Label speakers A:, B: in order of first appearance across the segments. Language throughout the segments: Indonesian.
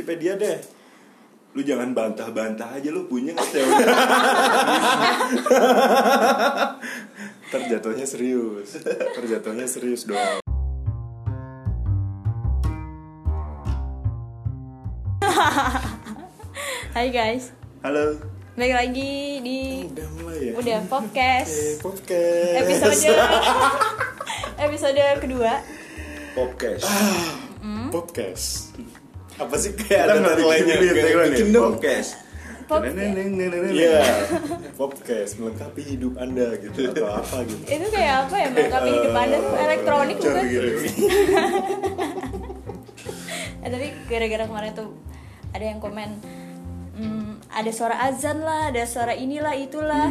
A: Wikipedia deh.
B: Lu jangan bantah-bantah aja lu punya nggak teori.
A: Terjatuhnya serius. Terjatuhnya serius dong.
C: Hai guys,
B: Halo.
C: balik lagi di
A: Udah mulai ya.
C: udah Eh.
A: Eh,
C: podcast
A: podcast.
C: episode episode kedua.
B: Podcast.
C: Ah.
A: Hmm? Podcast. Apa sih kayak
B: Kita
A: ada
B: nggak
A: tagline-nya?
B: bikin
A: Kayak
B: tagline ya?
A: bikin dong.
B: Podcast.
C: Podcast.
B: Neneng, neneng, neneng.
A: Iya. Podcast melengkapi hidup Anda gitu atau apa gitu.
C: Itu kayak apa ya? Melengkapi hidup
A: Eh,
C: anda tuh elektronik
A: Cara
C: bukan?
A: gitu.
C: Eh, tapi gara-gara kemarin tuh ada yang komen "Hmm, ada suara azan lah, ada suara inilah itulah.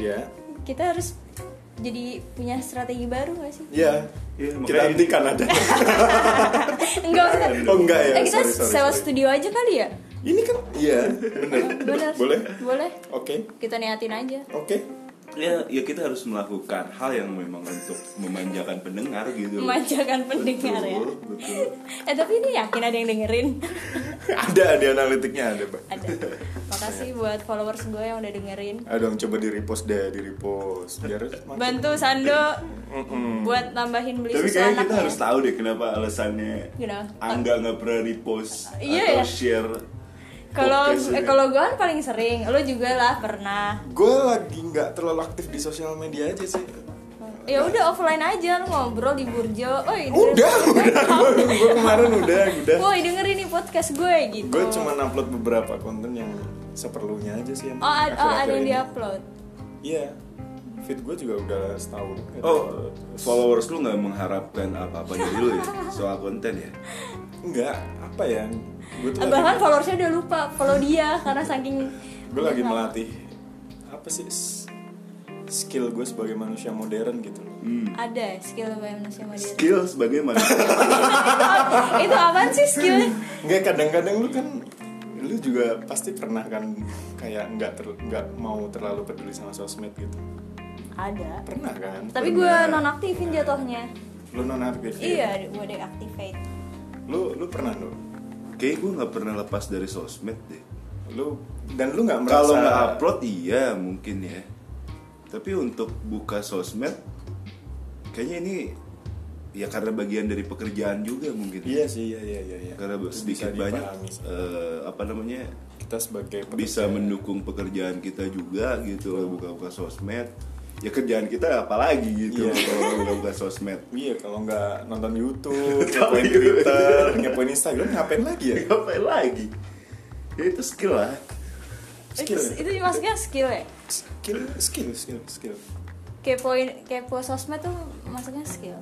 A: Ya.
C: Kita harus jadi punya strategi baru gak sih?
A: Ya.
B: Iya,
A: Kita
B: makanya-
A: hentikan ada.
C: Enggak maksudnya.
A: Oh enggak ya.
C: Eh, kita
A: sorry, sorry,
C: sewa
A: sorry.
C: studio aja kali ya?
A: Ini kan iya, bener.
C: Bener.
A: Boleh?
C: Boleh.
A: Oke.
C: Kita niatin aja.
A: Oke.
B: Ya, ya kita harus melakukan hal yang memang untuk memanjakan pendengar gitu.
C: Memanjakan pendengar ya.
B: Betul, betul.
C: Eh tapi ini yakin ada yang dengerin
A: Ada ada analitiknya ada, Pak.
C: Ada Makasih buat followers gue yang udah dengerin
A: Aduh, coba di repost deh, di repost biar makin-
C: Bantu Sando Buat nambahin beli
B: Tapi
C: susu
B: kayaknya
C: anak
B: kita harus Ah, tahu deh kenapa alasannya
C: Kenapa?
B: Angga nggak pernah repost
C: Iya
B: atau
C: ya.
B: share.
C: Kalau
B: podcast
C: eh,
B: ya. ini.
C: kalau gue kan paling sering Lo juga lah pernah
A: Gue lagi nggak terlalu aktif di sosial media aja sih.
C: Ya
B: Nah.
C: udah offline aja Lo ngobrol di Burjo Oh, Oi,
A: Udah, udah. Gue kemarin udah, udah.
C: Woi dengerin nih podcast gue gitu
A: Gue cuma upload beberapa konten yang seperlunya aja sih. yang
C: Oh, ad- oh
A: akhir-akhir
C: ada yang
A: ini.
C: diupload
A: Iya. Feed gue juga udah setahun.
B: Oh, followers lu nggak mengharapkan apa-apa dari lu ya soal konten
C: Iya.
B: ya?
A: Enggak, apa ya? Gue tuh lagi,
C: Bahkan followersnya udah lupa Follow dia karena saking Iya.
A: gue lagi melatih apa sih s- skill gue sebagai manusia modern gitu.
B: Hmm.
C: Ada skill apa manusia modern
B: Skill sebagai manusia.
C: Itu apaan sih skillnya?
A: Enggak kadang-kadang lu kan lu juga pasti pernah kan kayak nggak ter nggak mau terlalu peduli sama sosmed gitu
C: Ada
A: pernah kan
C: Tapi gue nonaktifin jatuhnya.
A: lu non aktif
C: Iya, gue deactivate.
A: lu lu pernah lu
B: Kayaknya gue nggak pernah lepas dari sosmed deh.
A: lu dan lu nggak merasa
B: Kalau nggak upload iya mungkin ya. Tapi untuk buka sosmed, kayaknya ini ya karena bagian dari pekerjaan juga mungkin.
A: iya sih iya iya iya, iya.
B: Karena
A: Itu bisa
B: sedikit banyak
A: dipahami.
B: eh, apa namanya
A: kita sebagai pekerja-
B: bisa mendukung pekerjaan kita juga gitu loh, buka-buka sosmed. Ya kerjaan kita apalagi gitu
A: Iya.
B: kalau buka-buka sosmed.
A: iya kalau nggak nonton YouTube
B: Tahu
A: ngepoin
B: gitu.
A: Twitter ngepoin Instagram ngapain lagi ya
B: Ngapain lagi? Ya itu skill lah.
A: skill
C: Itu, itu maksudnya skill ya?
A: skill skill skill skill
C: Kepoin, kepo sosmed tuh maksudnya skill.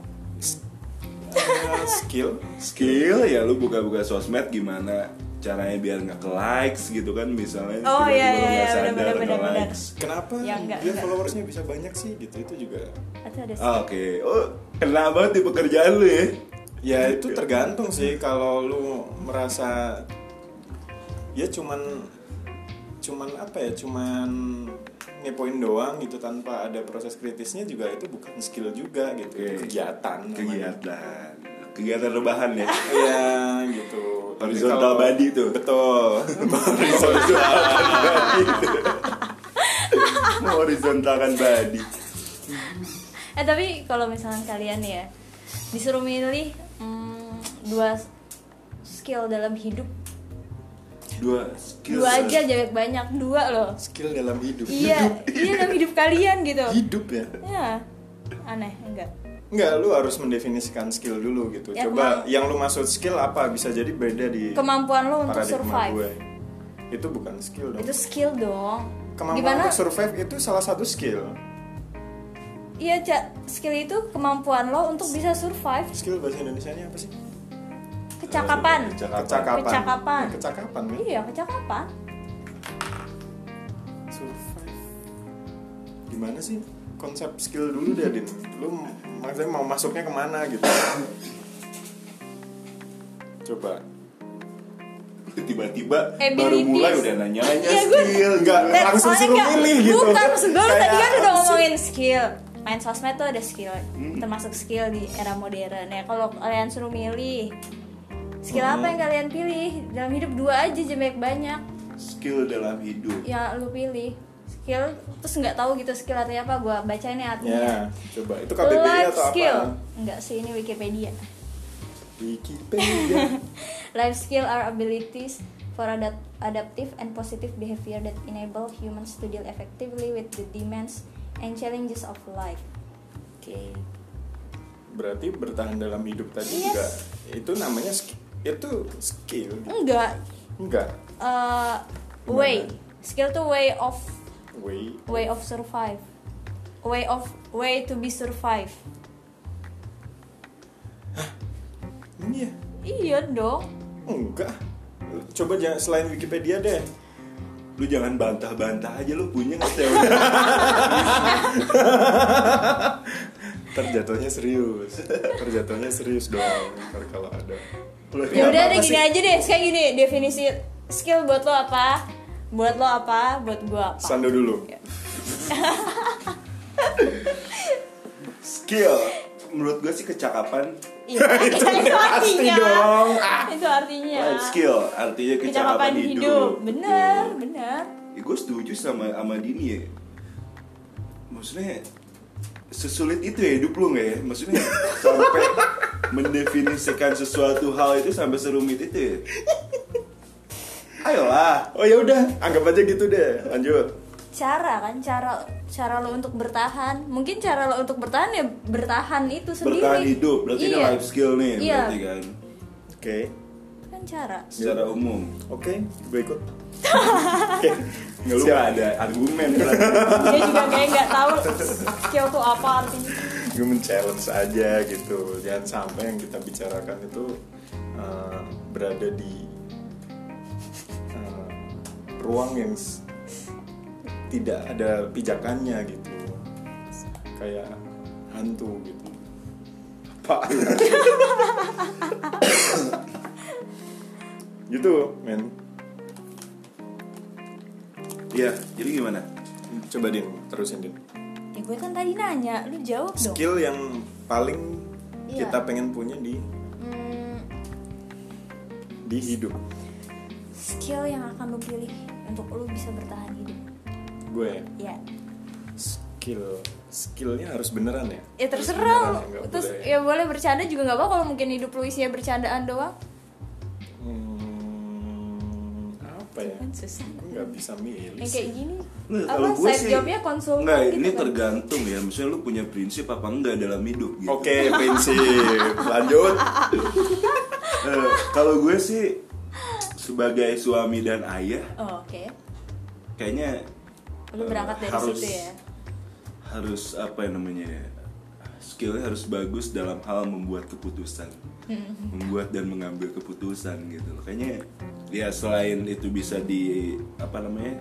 A: Eh, skill
B: Skill ya lu buka-buka sosmed gimana caranya biar nggak ke likes gitu kan misalnya
C: Oh, iya,
B: tiba-tiba
C: iya,
B: lu nggak
C: iya,
B: sadar
C: benar, benar,
B: nge
C: benar.
B: likes.
A: kenapa
C: Ya, nggak,
A: dia
C: nggak.
A: followersnya bisa banyak sih gitu itu juga
C: Atau ada
B: Ah,
C: skill.
B: Oke, oh kena banget di pekerjaan lu ya.
A: ya itu tergantung sih kalau lu merasa ya cuman cuman apa ya cuman ngepoin doang gitu tanpa ada proses kritisnya juga itu bukan skill juga gitu
B: Oke.
A: kegiatan namanya.
B: Kegiatan, kegiatan rebahan ya.
A: Iya gitu Tapi
B: Horizontal
A: kalau-
B: body tuh.
A: betul
B: Horizontal body. Horizontalkan body.
A: Ah.
C: Eh tapi kalau misalnya kalian ya disuruh milih hmm, dua skill dalam hidup,
B: Dua skill.
C: dua aja jangan banyak dua loh.
A: skill dalam hidup
C: Iya, iya dalam hidup kalian gitu.
A: hidup ya
C: Ya, aneh enggak?
A: Enggak, lu harus mendefinisikan skill dulu gitu.
C: Ya,
A: Coba
C: kemamp-
A: yang lu maksud skill apa bisa jadi beda di
C: Kemampuan lo untuk
A: paradigma
C: survive.
A: gue. Itu bukan skill dong.
C: Itu skill dong.
A: Kemampuan
C: Gimana?
A: untuk survive itu salah satu skill.
C: Iya, Cak. Skill itu kemampuan lo untuk bisa survive
A: Skill bahasa Indonesianya apa sih?
C: kecakapan.
B: Kecakapan.
A: Kecakapan.
C: Kecakapan.
A: Ya, kecakapan, men.
C: Iya, kecakapan.
A: Survive. Gimana sih konsep skill dulu deh, Din? Lu maksudnya mau masuknya kemana gitu? Coba
B: Tiba-tiba baru
C: Abilities.
B: mulai udah nanya-nanya
C: Iya, gue-
B: skill. Enggak,
A: Eh, langsung
C: soalnya
A: suruh milih gitu.
C: Bukan, maksud gue lu tadi
A: Kayak
C: kan
A: apa
C: udah
A: sih?
C: ngomongin skill. Main sosmed
A: Hmm.
C: tuh ada skill, termasuk skill di era modern. Ya kalau kalian suruh milih skill apa
A: Hmm.
C: yang kalian pilih dalam hidup dua aja jangan banyak banyak
B: skill dalam hidup
C: ya lu pilih skill terus nggak tahu gitu skill artinya apa gua baca ini
A: Ya,
C: artinya
A: coba itu KBBI
C: life
A: atau
C: skill
A: apa?
C: nggak sih ini Wikipedia
A: Wikipedia.
C: Life skill are abilities for adapt adaptive and positive behavior that enable humans to deal effectively with the demands and challenges of life. Oke.
A: Berarti bertahan dalam hidup tadi
C: Yes.
A: juga itu namanya sk- itu skill. gitu.
C: Enggak.
A: Enggak.
C: eh, way. Skill tuh way of
A: Way.
C: way of survive. Way of way to be survive.
A: Ini ya.
C: Iya dong.
A: Enggak. Coba jangan selain Wikipedia deh.
B: lu jangan bantah-bantah aja lu punya nggak teori
A: Ntar jatuhnya serius. Ntar jatuhnya serius dong. Ntar kalau ada.
C: Ya
B: Iya,
C: udah
A: Apa
C: deh
A: sih?
C: gini aja deh, kayak gini definisi skill buat lo apa? Buat lo apa? Buat gua apa?
A: Sando dulu.
C: Iya.
B: skill menurut gue sih kecakapan
C: Iya, itu,
A: pasti
C: artinya.
A: dong.
C: Itu artinya.
B: life skill artinya
C: Ya. Kecakapan
B: kecakapan
C: hidup.
B: hidup,
C: Bener, bener.
B: ya, gue setuju sama sama Dini ya maksudnya sesulit itu ya hidup lu nggak ya maksudnya sampai mendefinisikan sesuatu hal itu sampai serumit itu ya ayolah
A: Oh ya udah, anggap aja gitu deh. Lanjut.
C: Cara kan cara cara lo untuk bertahan. Mungkin cara lo untuk bertahan ya bertahan itu sendiri.
B: bertahan hidup berarti
C: iya.
B: ini life skill nih
C: Iya.
B: berarti kan
A: Oke.
C: Kan cara.
B: secara umum
A: Oke, gue ikut.
B: nggak lu
A: Siap.
B: nggak ada argumen kan?
C: Dia juga kayak nggak tahu skill tuh apa artinya.
A: gue men-challenge aja gitu jangan sampai yang kita bicarakan itu eh, berada di eh, ruang yang s- tidak ada pijakannya gitu kayak hantu gitu apa gitu men
B: iya jadi gimana
A: coba din terusin din
C: Ya gue kan tadi nanya, lu jawab dong.
A: skill yang paling
C: Iya.
A: kita pengen punya di
C: Hmm,
A: di hidup
C: skill yang akan lu pilih untuk lu bisa bertahan hidup.
A: gue
C: Ya.
A: skill skillnya harus beneran ya
C: Ya
A: Harus
C: terserah.
A: beneran ya,
C: lu.
A: nggak
C: Terus
A: boleh.
C: ya boleh bercanda juga nggak apa kalau mungkin hidup lu isinya bercandaan doang.
A: Hmm, apa ya
C: Kan susah.
A: nggak bisa milih
C: yang kayak
A: sih.
C: gini
B: Nah,
C: apa
B: kalau gue
C: side
B: sih
C: jobnya konsultan
B: Enggak,
C: gitu
B: ini
C: kan?
B: tergantung ya. Misalnya lu punya prinsip apa enggak dalam hidup gitu.
A: oke prinsip lanjut
B: Eh, kalau gue sih sebagai suami dan ayah
C: oh, oke
B: kayaknya
C: lu
B: eh,
C: berangkat dari
B: harus,
C: situ ya
B: Harus apa ya namanya? ya, Skillnya harus bagus dalam hal membuat keputusan.
C: Hmm.
B: membuat dan mengambil keputusan gitu. loh. Kayaknya ya selain itu bisa di apa namanya?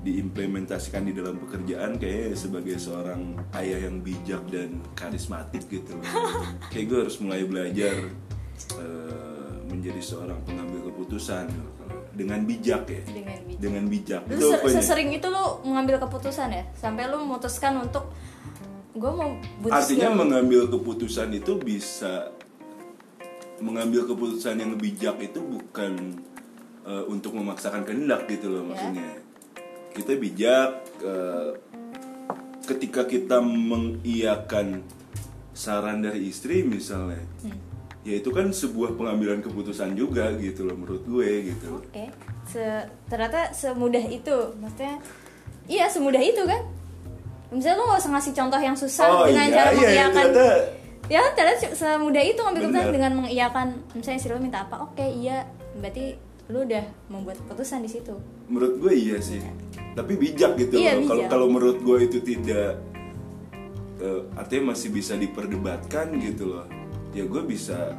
B: diimplementasikan di dalam pekerjaan kayaknya sebagai seorang ayah yang bijak dan karismatik gitu loh. kayak gue harus mulai belajar eh, menjadi seorang pengambil keputusan gitu loh. dengan bijak ya
C: Dengan bijak.
B: dengan bijak
C: lu
B: itu
C: ser-
B: pokoknya.
C: sesering itu lu mengambil keputusan ya sampai lu memutuskan untuk gue mau butuh skill."
B: artinya mengambil keputusan itu bisa mengambil keputusan yang bijak itu bukan eh, untuk memaksakan kehendak gitu loh
C: Ya.
B: maksudnya kita bijak eh, ketika kita mengiakan saran dari istri misalnya
C: Hmm.
B: ya itu kan sebuah pengambilan keputusan juga gitu loh menurut gue gitu
C: oke Se- ternyata semudah itu maksudnya iya semudah itu kan misalnya lu gak usah ngasih contoh yang susah
B: Oh,
C: dengan cara mengiyakan
B: iya, ternyata
C: ya ternyata se- semudah itu ngambil keputusan
B: Bener.
C: dengan mengiyakan misalnya istri lu minta apa oke iya berarti lu udah membuat keputusan di situ
B: menurut gue iya sih tapi bijak gitu
C: Iya,
B: loh. kalau
C: bijak.
B: kalau menurut gue itu tidak eh, artinya masih bisa diperdebatkan gitu loh ya gue bisa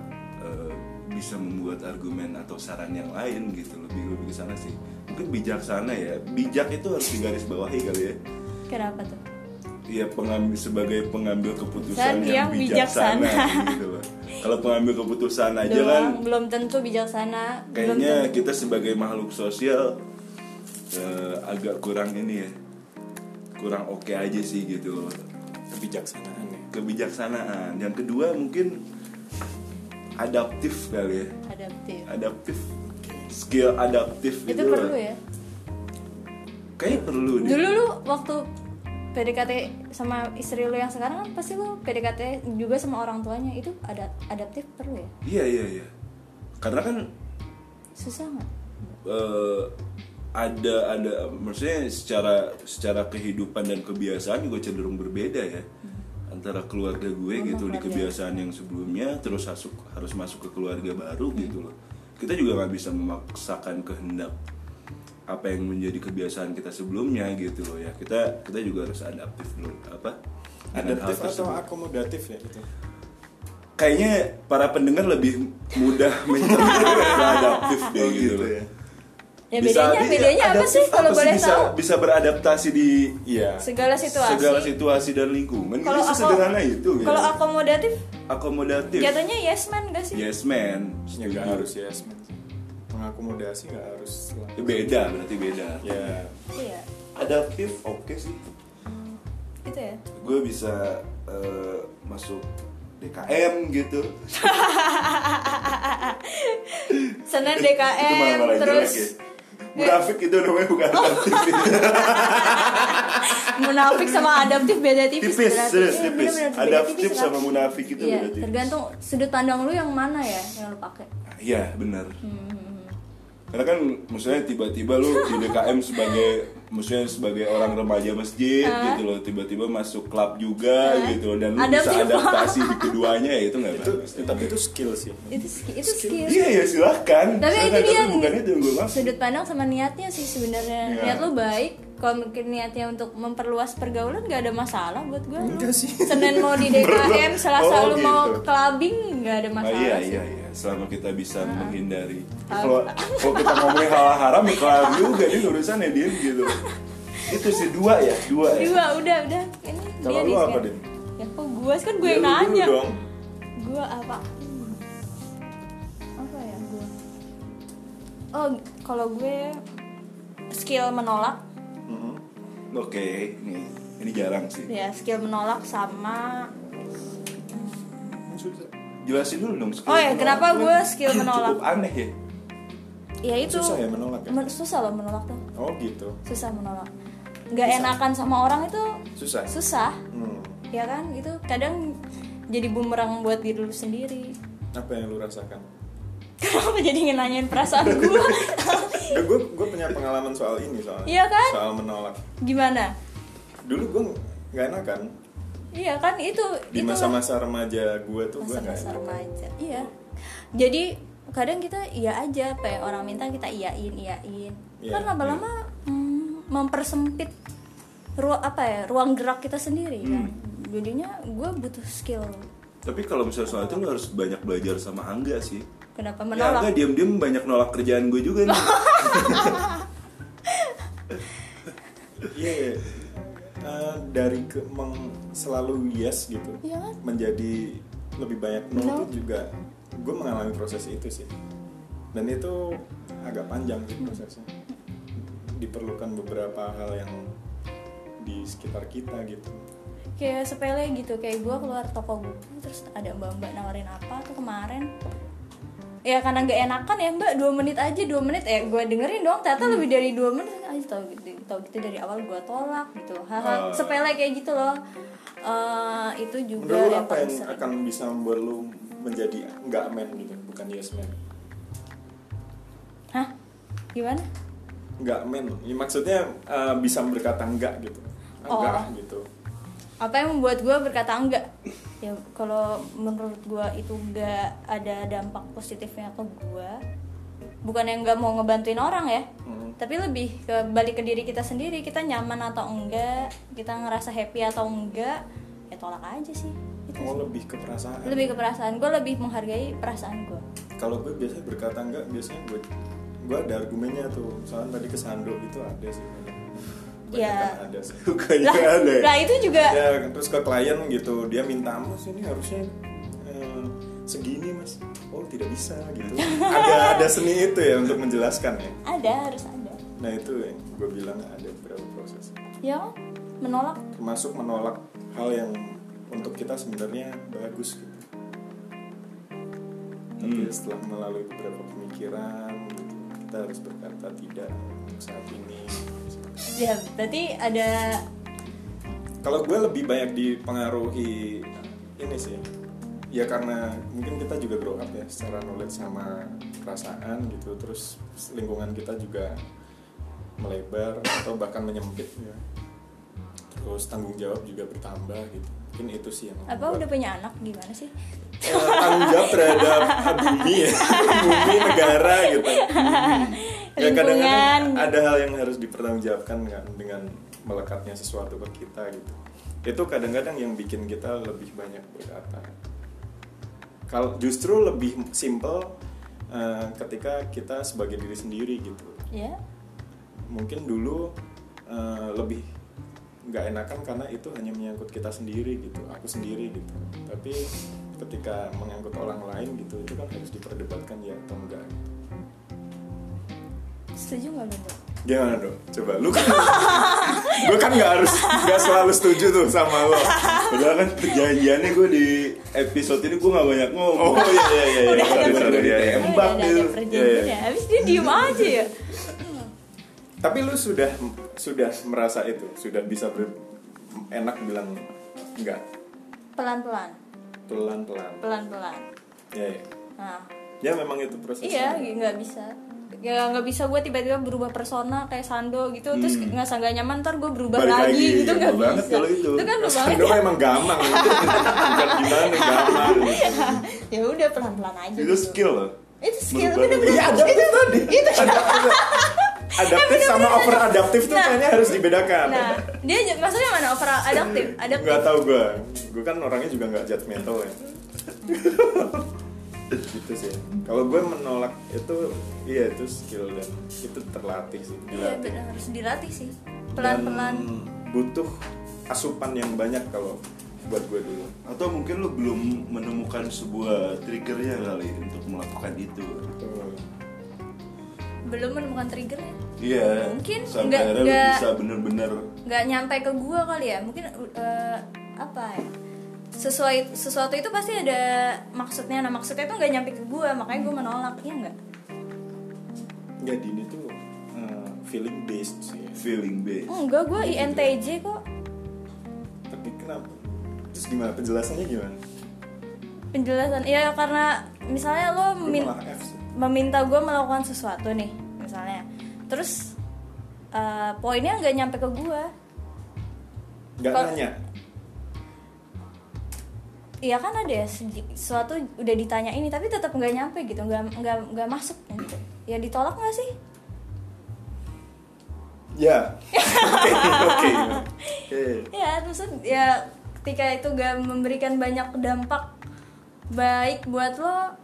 B: eh, bisa membuat argumen atau saran yang lain gitu lebih lebih ke sana sih mungkin bijaksana ya bijak itu harus digarisbawahi kali ya
C: kenapa tuh
B: Iya pengambil sebagai pengambil
C: Dan
B: keputusan
C: yang
B: yang, bijaksana,
C: bijaksana.
B: gitu loh. Kalau pengambil keputusan aja
C: Doang,
B: kan
C: belum tentu bijaksana belum
B: kayaknya gitu.
C: tentu.
B: kita sebagai makhluk sosial eh, agak kurang ini ya kurang oke aja sih gitu loh
A: kebijaksanaan ya
B: kebijaksanaan yang kedua mungkin adaptif kali ya
C: ada
D: adaptif
B: adaptif skill adaptif
D: itu
B: gitu lah.
D: perlu ya
B: kayaknya perlu deh
C: Dulu lu waktu PDKT sama istri lu yang sekarang kan pasti lu PDKT juga sama orang tuanya itu ada adaptif perlu ya?
B: iya iya iya karena kan
C: Susah nggak?
B: eh, ada ada maksudnya secara secara kehidupan dan kebiasaan juga cenderung berbeda ya antara keluarga gue
C: Sama
B: gitu di
C: keluarga.
B: kebiasaan yang sebelumnya terus masuk harus masuk ke keluarga baru gitu loh kita juga nggak bisa memaksakan kehendak apa yang menjadi kebiasaan kita sebelumnya gitu loh ya kita kita juga harus adaptif dulu apa dengan hal
A: adaptif atau
B: tersebut.
A: akomodatif ya
B: Oh,
A: gitu
B: kayaknya para pendengar lebih mudah mencermati adaptif deh gitu,
A: gitu
B: loh.
A: ya.
C: Ya
B: Bisa-
C: bedanya
B: iya,
C: bedanya apa
B: adaptif
C: sih kalau boleh
B: bisa,
C: tahu?
B: bisa beradaptasi di
A: iya
C: Segala situasi.
B: segala situasi dan lingkungan
C: Kalau
B: kalau
C: aku-
B: sederhana itu guys.
C: Kalau akomodatif
B: akomodatif
C: jatuhnya yes man gak sih?
B: yes man
A: ya
B: Setuju.
A: nggak harus yes man sih. mengakomodasi nggak harus selalu.
B: Ya, beda berarti beda
A: ya
C: Iya.
B: adaptif oke sih
C: Itu ya.
B: gue bisa eh, masuk DKM gitu
C: Senin
B: itu
C: DKM
B: malah-malah
C: terus Oh.
B: jelek ya. Munafik itu namanya bukan adaptif
C: munafik sama adaptif beda tipis.
B: tipis
C: berarti.
B: serius
C: Iya,
B: tipis
C: bener-bener, beda
B: adaptif
C: tipis,
B: sama
C: kan?
B: munafik itu
C: Iya,
B: beda tipis.
C: tergantung sudut pandang lu yang mana ya yang lu pakai.
B: iya benar Karena kan maksudnya tiba-tiba lu di DKM sebagai maksudnya sebagai orang remaja masjid gitu loh tiba-tiba masuk klub juga
C: Hah?
B: gitu loh dan lu
C: Adaptif.
B: bisa adaptasi di keduanya ya itu nggak
A: itu
B: bagus.
A: tapi itu skill sih
C: Itu ski- itu skill.
B: Iya ya silahkan.
C: Tapi itu
B: Silahkan,
C: dia
B: tapi bukan itu yang gue maksud.
C: sudut pandang sama niatnya sih sebenarnya.
B: Iya.
C: Niat lu baik, kalau mungkin niatnya untuk memperluas pergaulan nggak ada masalah buat gue. Lu
A: Enggak sih.
C: Senin mau di DKM, Selasa
B: Oh,
C: lu mau
B: gitu.
C: clubbing nggak ada
B: Ah,
C: masalah.
B: iya
C: sih.
B: iya iya selama kita bisa menghindari. Kalau kalau kita ngomongin hal haram ya kelar juga dia urusannya dia gitu. itu sih dua ya dua ya.
C: Dua, udah, udah. Ini
A: Kalau
C: dia
A: lu
C: nih
A: apa,
C: sekarang.
A: Din?
C: Ya kok gue kan gue
A: Ya,
C: yang
A: lu dulu
C: nanya.
A: dong.
C: Gue apa? Hmm. Apa ya gue? Oh, kalau gue skill menolak
A: Mhm.
B: Oke nih ini jarang sih.
C: ya skill menolak sama
B: Hmm,
A: Susah.
B: Jelasin dulu dong. skill
C: Oh ya,
B: menolak.
C: kenapa gue skill menolak?
B: Cukup aneh ya.
C: ya itu
A: Susah ya menolak ya?
C: Men- susah loh menolak tuh
A: oh gitu
C: susah menolak nggak
A: Susah.
C: enakan sama orang itu
A: susah
C: susah
A: Hmm.
C: ya kan itu kadang jadi bumerang buat diri lu sendiri
A: apa yang lu rasakan
C: kenapa jadi ngenanyain perasaan gue
A: gue gue punya pengalaman soal ini soalnya
C: Iya kan?
A: soal menolak
C: gimana
A: dulu gue nggak enakan
C: iya kan itu
A: di
C: itu
A: masa-masa remaja gue tuh gue nggak
C: masa-masa
A: enakan
C: remaja iya jadi kadang kita iya aja apa yang orang minta kita iyain iyain
A: Iya,
C: kan lama-lama mm, mempersempit ruang apa ya ruang gerak kita sendiri
A: Hmm.
C: kan jadinya gue butuh skill
B: Tapi kalau misalnya soal itu lu harus banyak belajar sama Angga sih.
C: kenapa
B: Ya Angga
C: menolak
B: diam-diam banyak nolak kerjaan gue juga nih.
A: iya iya. Eh, dari ke, meng- selalu yes gitu
C: Iya kan?
A: menjadi lebih banyak no
C: No.
A: itu juga gue mengalami proses itu sih dan itu agak panjang sih prosesnya diperlukan beberapa hal yang di sekitar kita gitu
C: kayak sepele gitu kayak gue keluar toko buku terus ada mbak-mbak nawarin apa tuh kemarin ya karena nggak enakan ya mbak dua menit aja dua menit eh gue dengerin dong ternyata
A: Hmm.
C: lebih dari dua menit aja tau gitu tau gitu dari awal gue tolak gitu
A: Oh.
C: haha
B: Ah.
C: sepele kayak gitu loh Eh, itu juga
A: menurut lu apa yang
C: paling sering.
A: akan bisa membuat lu menjadi nggak man gitu bukan yes man
C: hah gimana
A: nggak men ya, maksudnya eh, bisa berkata enggak gitu enggak ah,
C: Oh.
A: gitu
C: apa yang membuat gue berkata enggak ya kalau menurut gue itu nggak ada dampak positifnya ke gue bukan yang nggak mau ngebantuin orang ya
A: Hmm.
C: tapi lebih ke balik ke diri kita sendiri kita nyaman atau enggak kita ngerasa happy atau enggak ya tolak aja sih Itu
A: mau Oh,
C: sih.
A: lebih ke perasaan
C: lebih ke perasaan gue lebih menghargai perasaan gue
A: kalau gue biasanya berkata enggak biasanya gue gue ada argumennya tuh misalnya tadi kesandung gitu ada sih Banyak
C: Ya.
A: kan ada sih
B: Bukannya
C: lah,
B: aneh.
C: lah itu juga
A: ya terus ke klien gitu dia minta mas ini harusnya eh, segini mas oh tidak bisa gitu ada ada seni itu ya untuk menjelaskan ya
C: ada harus ada
A: nah itu yang gue bilang ada beberapa proses
C: ya kan? menolak
A: termasuk menolak hal yang untuk kita sebenarnya bagus gitu tapi setelah melalui beberapa pemikiran gitu, kita harus berkata tidak untuk saat ini
C: ya berarti ada
A: kalau gue lebih banyak dipengaruhi ini sih ya karena mungkin kita juga grow up ya secara knowledge sama perasaan gitu terus lingkungan kita juga melebar atau bahkan menyempit ya terus tanggung jawab juga bertambah gitu mungkin itu sih yang
C: apa
A: membuat-
C: udah punya anak gimana sih
A: Eh, tanggung jawab terhadap bumi ya bumi negara gitu ya kadang-kadang
C: Lingkungan.
A: ada hal yang harus dipertanggungjawabkan kan dengan melekatnya sesuatu ke kita gitu itu kadang-kadang yang bikin kita lebih banyak berkata kalau justru lebih simple eh, ketika kita sebagai diri sendiri gitu
C: ya
A: mungkin dulu eh, lebih nggak enakan karena itu hanya menyangkut kita sendiri gitu aku sendiri gitu tapi ketika menyangkut orang lain gitu itu kan harus diperdebatkan ya atau enggak
C: setuju nggak Bunda?
A: gimana dong coba lu kan gue kan nggak harus nggak selalu setuju tuh sama lo
B: Padahal kan perjanjiannya gue di episode ini gue gak banyak ngomong
A: oh iya iya iya iya
C: Udah ada
A: Sorry, sorry,
B: perjanjian.
A: iya, iya.
B: Tembak
C: Udah
B: gitu.
C: ada perjanjian
A: Iya,
C: ya habis dia diem aja ya
A: tapi lu sudah sudah merasa itu sudah bisa ber- enak bilang enggak
C: pelan pelan
A: pelan pelan
C: pelan pelan
A: ya ya
C: nah
A: ya memang itu prosesnya
C: Iya, nggak bisa. Ya nggak bisa gue tiba-tiba berubah persona kayak Sando gitu, terus nggak nggak nyaman ntar gue berubah
B: Hmm. Balik
C: lagi,
B: lagi,
C: gitu nggak
B: gampang banget
C: bisa.
B: kalau itu.
C: kan lu banget
A: Sando Nah, emang gampang Bukan gimana gampang
C: ya. udah pelan-pelan aja.
B: Itu
C: gitu.
B: skill loh
C: Itu skill
B: Merubah
C: bener-bener.
A: Iya adaptif tadi
C: Itu.
A: Adaptif sama over adaptif tuh
C: Nah.
A: kayaknya harus dibedakan
C: Nah, dia j- maksudnya mana overall adaptif, adaptif.
A: Gak tau gue Gue kan orangnya juga gak judgmental ya Gitu sih Kalau gue menolak itu Iya itu skill dan itu terlatih sih
C: Iya,
A: dilatih.
C: bener, harus dilatih sih. Pelan-pelan.
A: Dan butuh asupan yang banyak kalau buat gue dulu
B: Atau mungkin lu belum menemukan sebuah triggernya kali untuk melakukan itu
A: Tuh.
C: Belum menemukan triggernya.
B: Iya
C: Mungkin
B: Sampai
C: nggak-
B: akhirnya lu
C: nggak-
B: bisa bener-bener
C: nggak nyampe ke gua kali ya mungkin eh, apa ya sesuai sesuatu itu pasti ada maksudnya nah maksudnya itu nggak nyampe ke gua makanya gua menolak ya nggak
A: Jadi ini Ya, tuh eh, feeling based sih
B: feeling based
C: enggak gua INTJ kok
A: Tapi kenapa? Terus gimana? Penjelasannya gimana?
C: penjelasan ya karena misalnya lo
A: Gue
C: min-
A: malah F sih
C: meminta gua melakukan sesuatu nih misalnya terus eh, poinnya nggak nyampe ke gua
A: Gak
C: Kalau-
A: nanya
C: Iya kan ada ya seji- sesuatu udah ditanya ini tapi tetap nggak nyampe gitu nggak nggak nggak masuk gitu ya ditolak nggak sih
A: Ya Oke Oke Oke.
C: Ya, maksud ya ketika itu gak memberikan banyak dampak baik buat lo,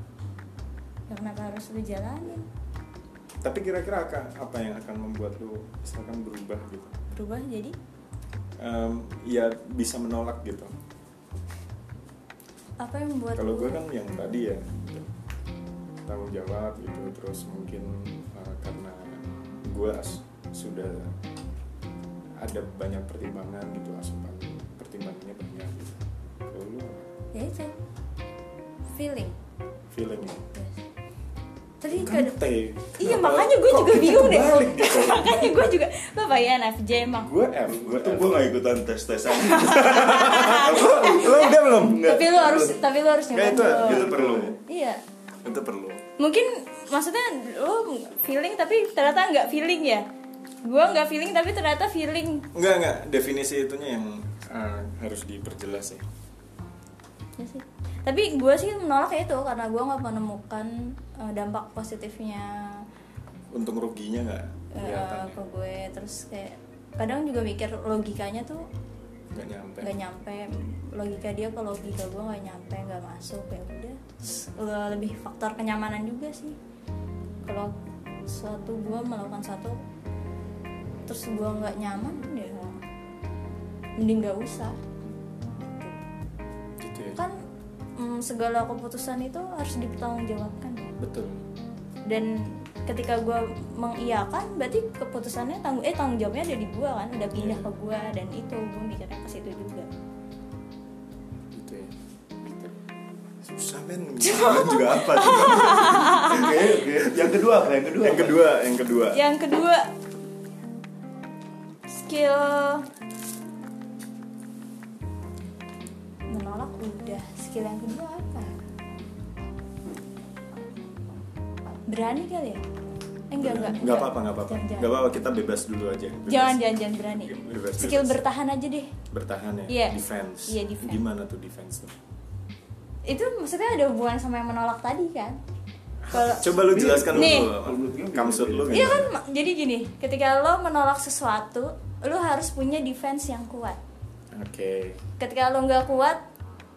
C: ya kenapa harus lo jalanin?
A: Tapi kira-kira akan- apa yang akan membuat lu misalkan berubah gitu?
C: Berubah jadi?
A: Em, ya bisa menolak gitu.
C: Apa yang membuat
A: Kalau
C: lo-
A: gue kan yang tadi
C: Hmm.
A: ya gitu. tanggung jawab gitu, terus mungkin eh, karena gue as- sudah ada banyak pertimbangan gitu asupan pertimbangannya banyak gitu. Kalau lu
C: Ya itu, feeling.
A: feeling ya?
C: Yes. Tadi
A: Kan
C: gak ada-
A: T.
C: Iya
A: Kenapa-
C: makanya gue
A: kok
C: juga
A: kita
C: bingung deh.
A: kebalik gitu?
C: makanya gue juga lo bayangin FJ emang.
A: gue F,
B: Gue
A: gue
B: tuh
A: F.
B: gue gak ikutan tes-tesan
A: Lo lo udah belum?
C: Tapi lo harus tapi lo harus
A: Kayak itu, gitu.
C: nyoba dulu.
A: itu perlu.
C: Iya.
A: Itu perlu.
C: mungkin maksudnya lo feeling tapi ternyata nggak feeling ya gue nggak feeling tapi ternyata feeling
A: Enggak, enggak. Definisi itunya yang eh, harus diperjelas ya.
C: Ya sih. tapi gue sih menolak ya itu karena gue nggak menemukan eh, dampak positifnya
A: Untung ruginya enggak
C: eh,
A: kelihatan. ya.
C: ke gue terus kayak kadang juga mikir logikanya tuh
A: Enggak nyampe.
C: nggak nyampe logika dia ke logika gue nggak nyampe nggak masuk ya udah Terus, le- lebih faktor kenyamanan juga sih kalau suatu gue melakukan satu terus gue nggak nyaman ya mending nggak usah Gitu.
A: Gitu ya.
C: kan mm, segala keputusan itu harus dipertanggungjawabkan ya.
A: Betul.
C: dan ketika gue mengiyakan berarti keputusannya tanggung eh tanggung jawabnya ada di gue kan udah pindah ke gue dan itu gue mikirnya ke situ juga
A: Gitu ya. Samen juga apa? tuh?
B: Oke, oke. Yang kedua apa? Yang kedua.
A: yang
B: apa?
A: kedua, yang kedua.
C: Yang kedua skill menolak udah. Skill yang kedua apa? Berani kali ya? Eh, enggak, enggak.
A: Nggak apa-apa, nggak apa-apa.
C: Jangan,
A: Nggak
C: jangan.
A: apa-apa, kita bebas dulu aja. Bebas.
C: Jangan, jangan, jangan berani.
A: Bebas,
C: Skill
A: bebas.
C: bertahan aja deh.
A: Bertahan ya,
C: Iya.
A: defense.
C: Iya, defense.
A: Gimana tuh defense tuh?
C: Itu maksudnya ada hubungan sama yang menolak tadi kan? Kalau
A: Ah, Coba lu jelaskan
C: Nih.
A: dulu. Kamsut lu
C: Iya kan, Ma- jadi gini, ketika lo menolak sesuatu, lo harus punya defense yang kuat. kan?
A: Oke.
C: Ketika lo nggak kuat,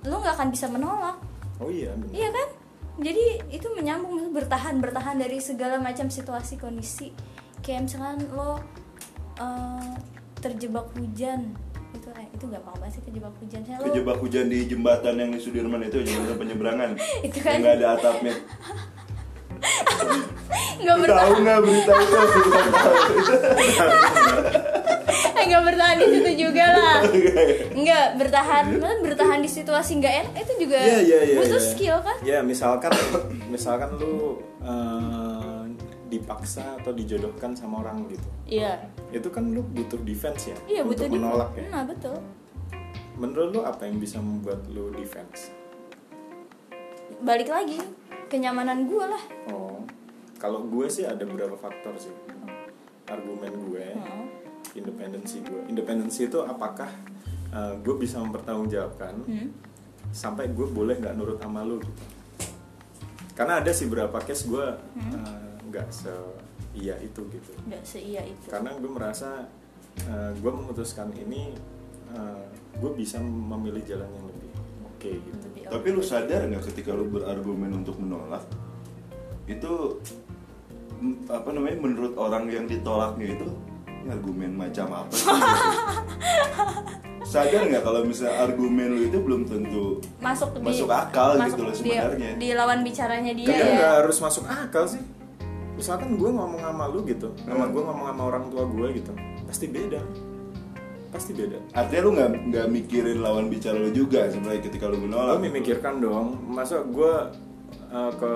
C: lo nggak akan bisa menolak,
A: Oh iya. bener.
C: iya kan? Jadi itu menyambung bertahan bertahan dari segala macam situasi kondisi. Kayak misalkan lo eh, terjebak hujan, itu eh, itu gampang banget sih terjebak hujan. Saya lo
B: Kejebak hujan di jembatan yang di Sudirman itu jembatan penyeberangan.
C: Itu
B: Yang
C: kan-
B: nggak ada atapnya.
C: nggak
B: Lu
C: bertahan,
B: tahu nggak berita itu? Lu tahu.
C: Eh, nggak bertahan di situ juga lah.
B: ya?"
C: Nggak bertahan, bertahan di situasi nggak enak itu juga
A: Iya iya iya.
C: butuh
A: iya.
C: skill kan?
A: Iya misalkan misalkan lu eh, dipaksa atau dijodohkan sama orang gitu.
C: Iya.
A: Itu kan lu butuh defense ya.
C: Iya
A: untuk
C: butuh di-
A: menolak ya.
C: Nah betul.
A: Menurut lu apa yang bisa membuat lu defense?
C: Balik lagi kenyamanan gue lah.
A: Oh. Kalau gue sih ada beberapa faktor sih. Argumen gue,
C: Heeh.
A: independensi gue. Independensi itu apakah eh, gue bisa mempertanggungjawabkan
C: Hmm.
A: sampai gue boleh nggak nurut sama lu gitu karena ada sih beberapa case gue eh, nggak se iya itu gitu
C: Nggak seia itu.
A: karena gue merasa eh, gue memutuskan ini eh, gue bisa memilih jalan yang lebih oke gitu
C: Lebih
B: Tapi lu sadar nggak ketika lu berargumen untuk menolak itu mm, apa namanya menurut orang yang ditolaknya itu "Ini argumen macam apa sih? sadar nggak kalau misalnya argumen lu itu belum tentu
C: masuk di-
B: masuk akal gitu loh
C: di-
B: sebenarnya.
C: Di, lawan bicaranya dia
A: Kadang
C: ya.
A: nggak harus masuk akal sih misalkan gue ngomong sama lu gitu sama
B: Hmm.
A: gue ngomong sama orang tua gue gitu pasti beda pasti beda
B: artinya lu nggak nggak mikirin lawan bicara lu juga sebenarnya ketika
A: lo
B: lu menolak
A: memikirkan dong masa gue eh, ke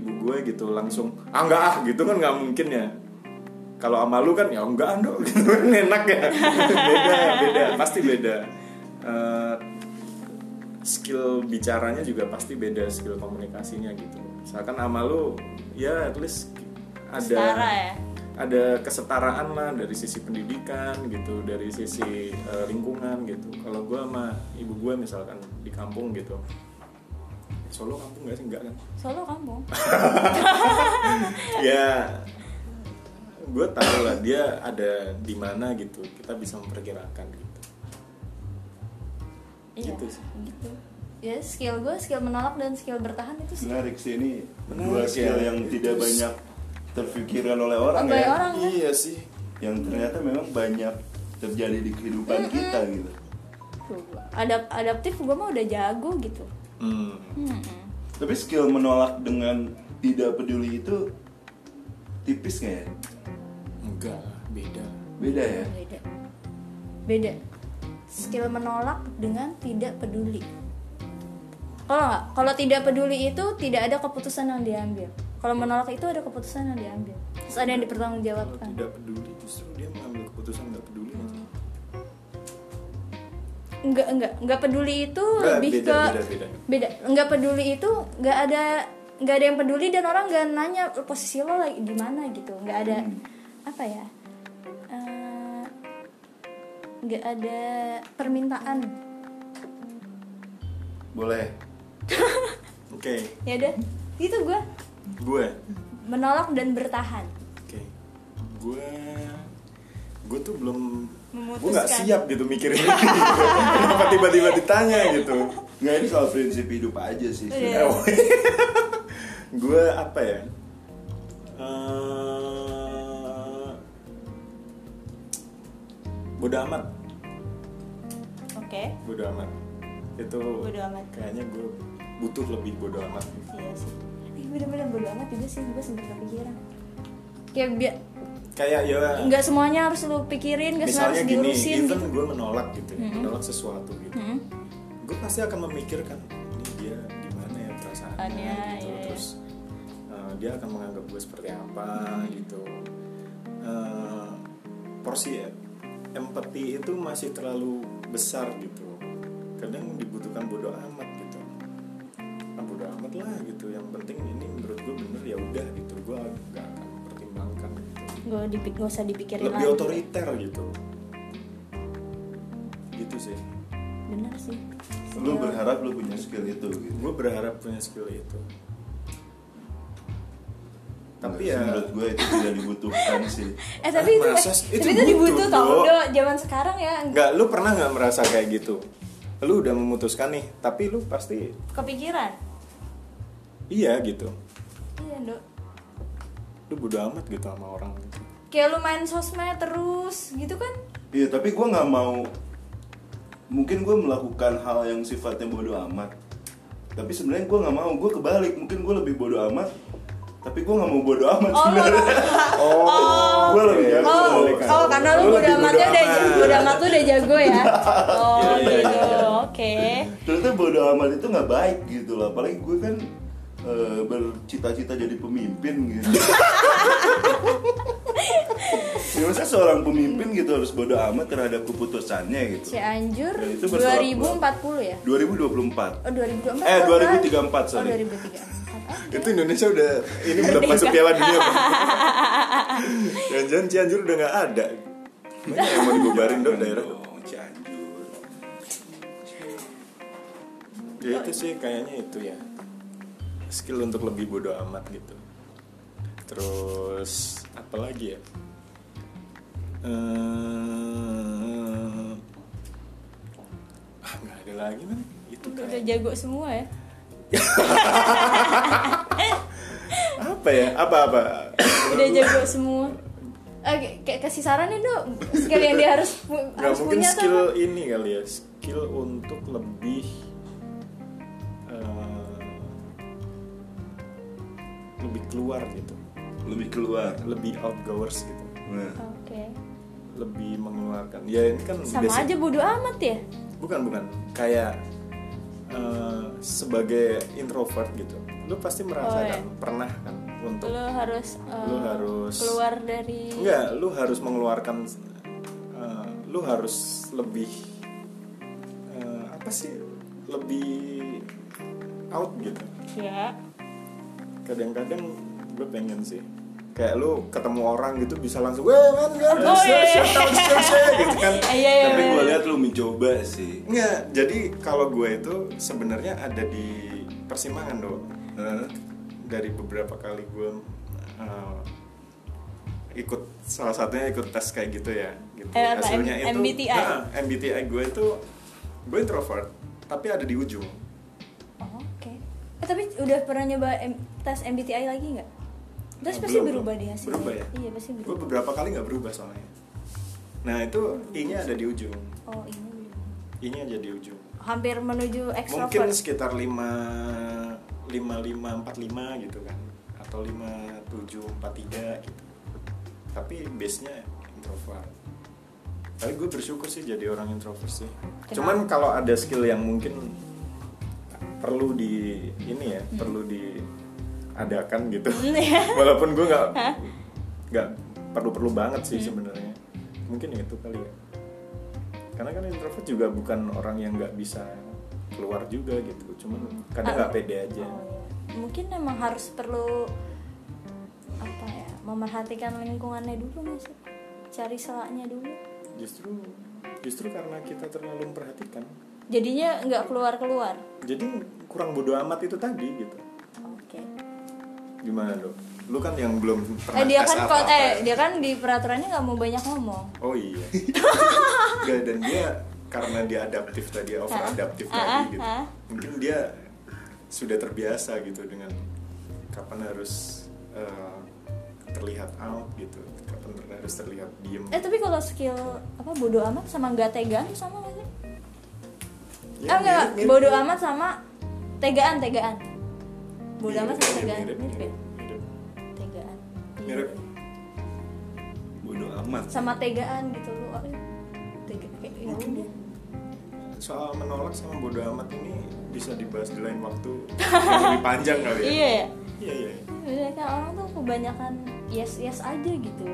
A: ibu gue gitu langsung ah nggak ah gitu kan nggak mungkin ya kalau sama lu kan ya enggak dong gitu kan enak ya beda beda pasti beda Eh, skill bicaranya juga pasti beda skill komunikasinya gitu misalkan sama lu ya at least ada
C: Setara ya.
A: ada kesetaraan lah dari sisi pendidikan gitu dari sisi eh, lingkungan gitu kalau gue sama ibu gue misalkan di kampung gitu Solo kampung gak sih enggak kan
C: Solo kamu.
A: ya gue tahu lah dia ada di mana gitu kita bisa memperkirakan gitu
C: Iya.
A: Gitu sih.
C: gitu. Ya skill gue skill menolak dan skill bertahan itu sih.
B: menarik sih ini
A: Menarik
B: dua
A: ya.
B: skill yang tidak
A: Terus-
B: banyak terpikiran oleh orang
C: Oleh
B: ya
C: orang kan.
A: iya sih
B: yang ternyata memang banyak terjadi di kehidupan kita gitu
C: Tuh, gua. Adap adaptif gue mah udah jago gitu.
A: hmm.
C: Mm-mm.
B: tapi skill menolak dengan tidak peduli itu tipis nggak ya
A: enggak lah, beda
B: beda ya
C: Beda. Beda. Skill menolak dengan tidak peduli. Kalau nggak, kalau tidak peduli itu tidak ada keputusan yang diambil. Kalau menolak itu ada keputusan yang diambil. Terus ada yang
A: kalau
C: dipertanggungjawabkan.
A: tidak peduli justru dia mengambil keputusan nggak peduli nggak sih?
C: Enggak, enggak, enggak peduli itu
A: Enggak,
C: lebih
A: beda,
C: ke
A: beda, beda.
C: Enggak peduli itu enggak ada enggak ada yang peduli dan orang enggak nanya posisi lo lagi di mana gitu. Enggak ada
B: Hmm.
C: apa ya? eh, Enggak ada permintaan.
B: boleh
A: oke
C: Ya udah, itu gue
A: gue
C: menolak dan bertahan.
A: Oke, gue gue tuh belum gue
C: Memutuskan.
A: nggak siap gitu mikirin ini. kenapa tiba-tiba ditanya gitu
B: nggak ini soal prinsip hidup aja sih
C: Iya.
A: gue apa ya Eh, bodo amat
C: Oke.
A: bodo amat itu
C: Bodo amat.
A: kayaknya gue butuh lebih bodo amat gitu.
C: Iya sih. Eh, bener-bener bodo amat juga sih, gue sempet kepikiran. Kayak biar
A: kayak ya
C: Ya, nggak semuanya harus lu pikirin, nggak semua
A: misalnya
C: harus
A: gini
C: diurusin
A: even
C: gitu. Hmm?
A: gue menolak gitu ya,
C: Mm-mm.
A: menolak sesuatu gitu
C: Mm-mm.
A: gue pasti akan memikirkan ini dia gimana ya
C: perasaannya
A: gitu.
C: iya, iya.
A: terus uh, dia akan menganggap gue seperti apa
C: Hmm.
A: gitu Uh, porsi ya, empati itu masih terlalu besar gitu kadang dibutuhkan bodoh amat gitu ah, bodoh amat lah gitu yang penting ini menurut gue bener ya udah gitu gue gak akan pertimbangkan gitu
C: gue dipik gak usah dipikirin
A: lebih
C: lagi.
A: otoriter gitu gitu sih
C: bener sih
B: lu
C: Skill.
B: berharap lu punya skill itu gitu
A: gue berharap punya skill itu tapi
B: Nah,
A: ya
B: menurut gue itu tidak dibutuhkan sih
C: eh tapi itu
A: Masa sih?
C: tapi
A: Itu
C: itu
A: butuh,
C: dibutuh tau
A: Dok.
C: Do. zaman sekarang ya
A: nggak lu pernah nggak merasa kayak gitu lu udah memutuskan nih tapi lu pasti
C: kepikiran
A: iya gitu
C: iya Dok.
A: lu bodo amat gitu sama orang gitu.
C: kayak lu main sosmed terus gitu kan
B: iya tapi gue nggak mau mungkin gue melakukan hal yang sifatnya bodoh amat tapi sebenarnya gue nggak mau gue kebalik mungkin gue lebih bodoh amat tapi gue nggak mau bodoh amat
C: oh lu
B: sebenarnya
A: oh,
B: gue lebih
A: Oke.
B: jago
C: Oh,
A: Kebalikan.
C: oh karena lu
A: Lu
C: bodo
A: lebih
C: amatnya
A: Iya, bodo
C: udah
A: amat.
C: bodo amat lu udah jago ya. Oh
A: Iya, iya,
C: gitu.
A: iya.
C: Oke.
B: ternyata bodoh amat itu nggak baik gitu lah apalagi gue kan eh, bercita-cita jadi pemimpin gitu ya masa seorang pemimpin gitu harus bodoh amat terhadap keputusannya gitu
C: Iya. Cianjur
A: Iya,
B: Ya, itu bersalah
C: 2040 ya?
B: 2024
C: Oh 2024.
B: Eh,
C: kapan?
B: 2034, sorry.
C: Oh 2034.
A: itu Indonesia udah ini udah masuk Piala Dunia Bang. jangan-jangan Cianjur udah nggak ada banyak yang mau dibubarin dong daerah
B: Oh, Cianjur
A: ya itu sih kayaknya itu ya skill untuk lebih bodoh amat gitu terus apa lagi ya Eh, ah nggak ada lagi man itu
C: Udah, udah
A: kayak
C: jago semua ya.
A: apa ya apa apa
C: Udah jago semua. Oke, kayak kasih saran nih, Dok. Skill yang dia harus pu-
A: nggak
C: harus
A: mungkin
C: punya tuh
A: skill
C: apa?
A: ini kali ya skill untuk lebih eh, lebih keluar gitu
B: lebih keluar
A: lebih outgoers gitu
B: nah,
C: Oke.
A: lebih mengeluarkan ya ini kan
C: Sama
A: basic.
C: aja bodo amat ya.
A: bukan bukan kayak eh, sebagai introvert gitu lu pasti merasakan
C: Oh,
A: pernah kan untuk
C: Lu harus eh,
A: Lu harus-
C: keluar dari
A: enggak lu harus mengeluarkan eh, lu harus lebih eh, apa sih lebih out gitu
C: Ya.
A: kadang-kadang gue pengen sih kayak lu ketemu orang gitu bisa langsung weh man gak
C: Oh, iya, iya.
A: gitu kan
C: Iya, iya.
B: tapi gue
C: bener.
B: lihat lu mencoba sih
A: Nggak, jadi kalau gue itu sebenarnya ada di persimpangan dong. Dari beberapa kali gue uh, ikut salah satunya ikut tes kayak gitu ya, gitu.
C: Eh, apa, M- MBTI?
A: Nah, MBTI gue itu gue introvert, tapi ada di ujung.
C: Oh, Oke. Eh, tapi udah pernah nyoba M- tes MBTI lagi nggak? Terus
A: Nah,
C: pasti
A: belum,
C: berubah
A: belum.
C: deh hasilnya.
A: Berubah ya?
C: Iya pasti
A: Gue
C: berubah.
A: beberapa kali nggak berubah soalnya. Nah itu I-nya ada di ujung,
C: Oh ini belum.
A: I-nya ada di ujung.
C: hampir menuju
A: mungkin
C: extrovert.
A: sekitar lima lima lima empat lima gitu kan atau lima tujuh empat tiga gitu tapi base nya introvert tapi gue bersyukur sih jadi orang introvert sih cuman kalau ada skill yang mungkin perlu di ini ya perlu diadakan gitu walaupun gue nggak nggak perlu perlu banget sih sebenarnya mungkin itu kali ya karena kan introvert juga bukan orang yang nggak bisa keluar juga gitu cuman kadang nggak
C: Ah.
A: pede aja
C: Oh, iya. Mungkin memang harus perlu apa ya? Memerhatikan lingkungannya dulu nggak sih? Cari selaknya dulu.
A: justru justru karena kita terlalu memperhatikan
C: Jadinya nggak keluar keluar.
A: jadi kurang bodoh amat itu tadi gitu
C: Oke.
A: gimana dok lu kan yang belum pernah
C: Eh dia
A: tes
C: kan
A: apa-apa.
C: kon- eh dia kan di peraturannya nggak mau banyak ngomong.
A: oh iya Nggak, dan dia karena dia adaptif tadi over adaptif
C: Ah, ah,
A: tadi gitu
C: ah.
A: mungkin dia sudah terbiasa gitu dengan kapan harus eh, terlihat out gitu kapan ter- harus terlihat diem
C: Eh tapi kalau skill apa bodoh amat sama nggak tegaan tuh sama nggak sih?
A: Ya,
C: ah enggak,
A: mirip-mirip.
C: bodoh amat sama tegaan, tegaan. Bodoh amat
A: Mirip,
C: sama tegaan.
A: mirip,
C: Mirip ya?
A: mirip, Iya, mirip.
C: Tegaan. Iya.
A: Mirip.
B: bodoh amat
C: Sama tegaan gitu lu. Oh, tega kayak ya
A: Mungkin
C: udah.
A: soal menolak sama bodo amat ini bisa dibahas di lain waktu yang lebih panjang kali ya.
C: iya ya
A: Iya iya.
C: Mereka orang tuh kebanyakan yes yes aja gitu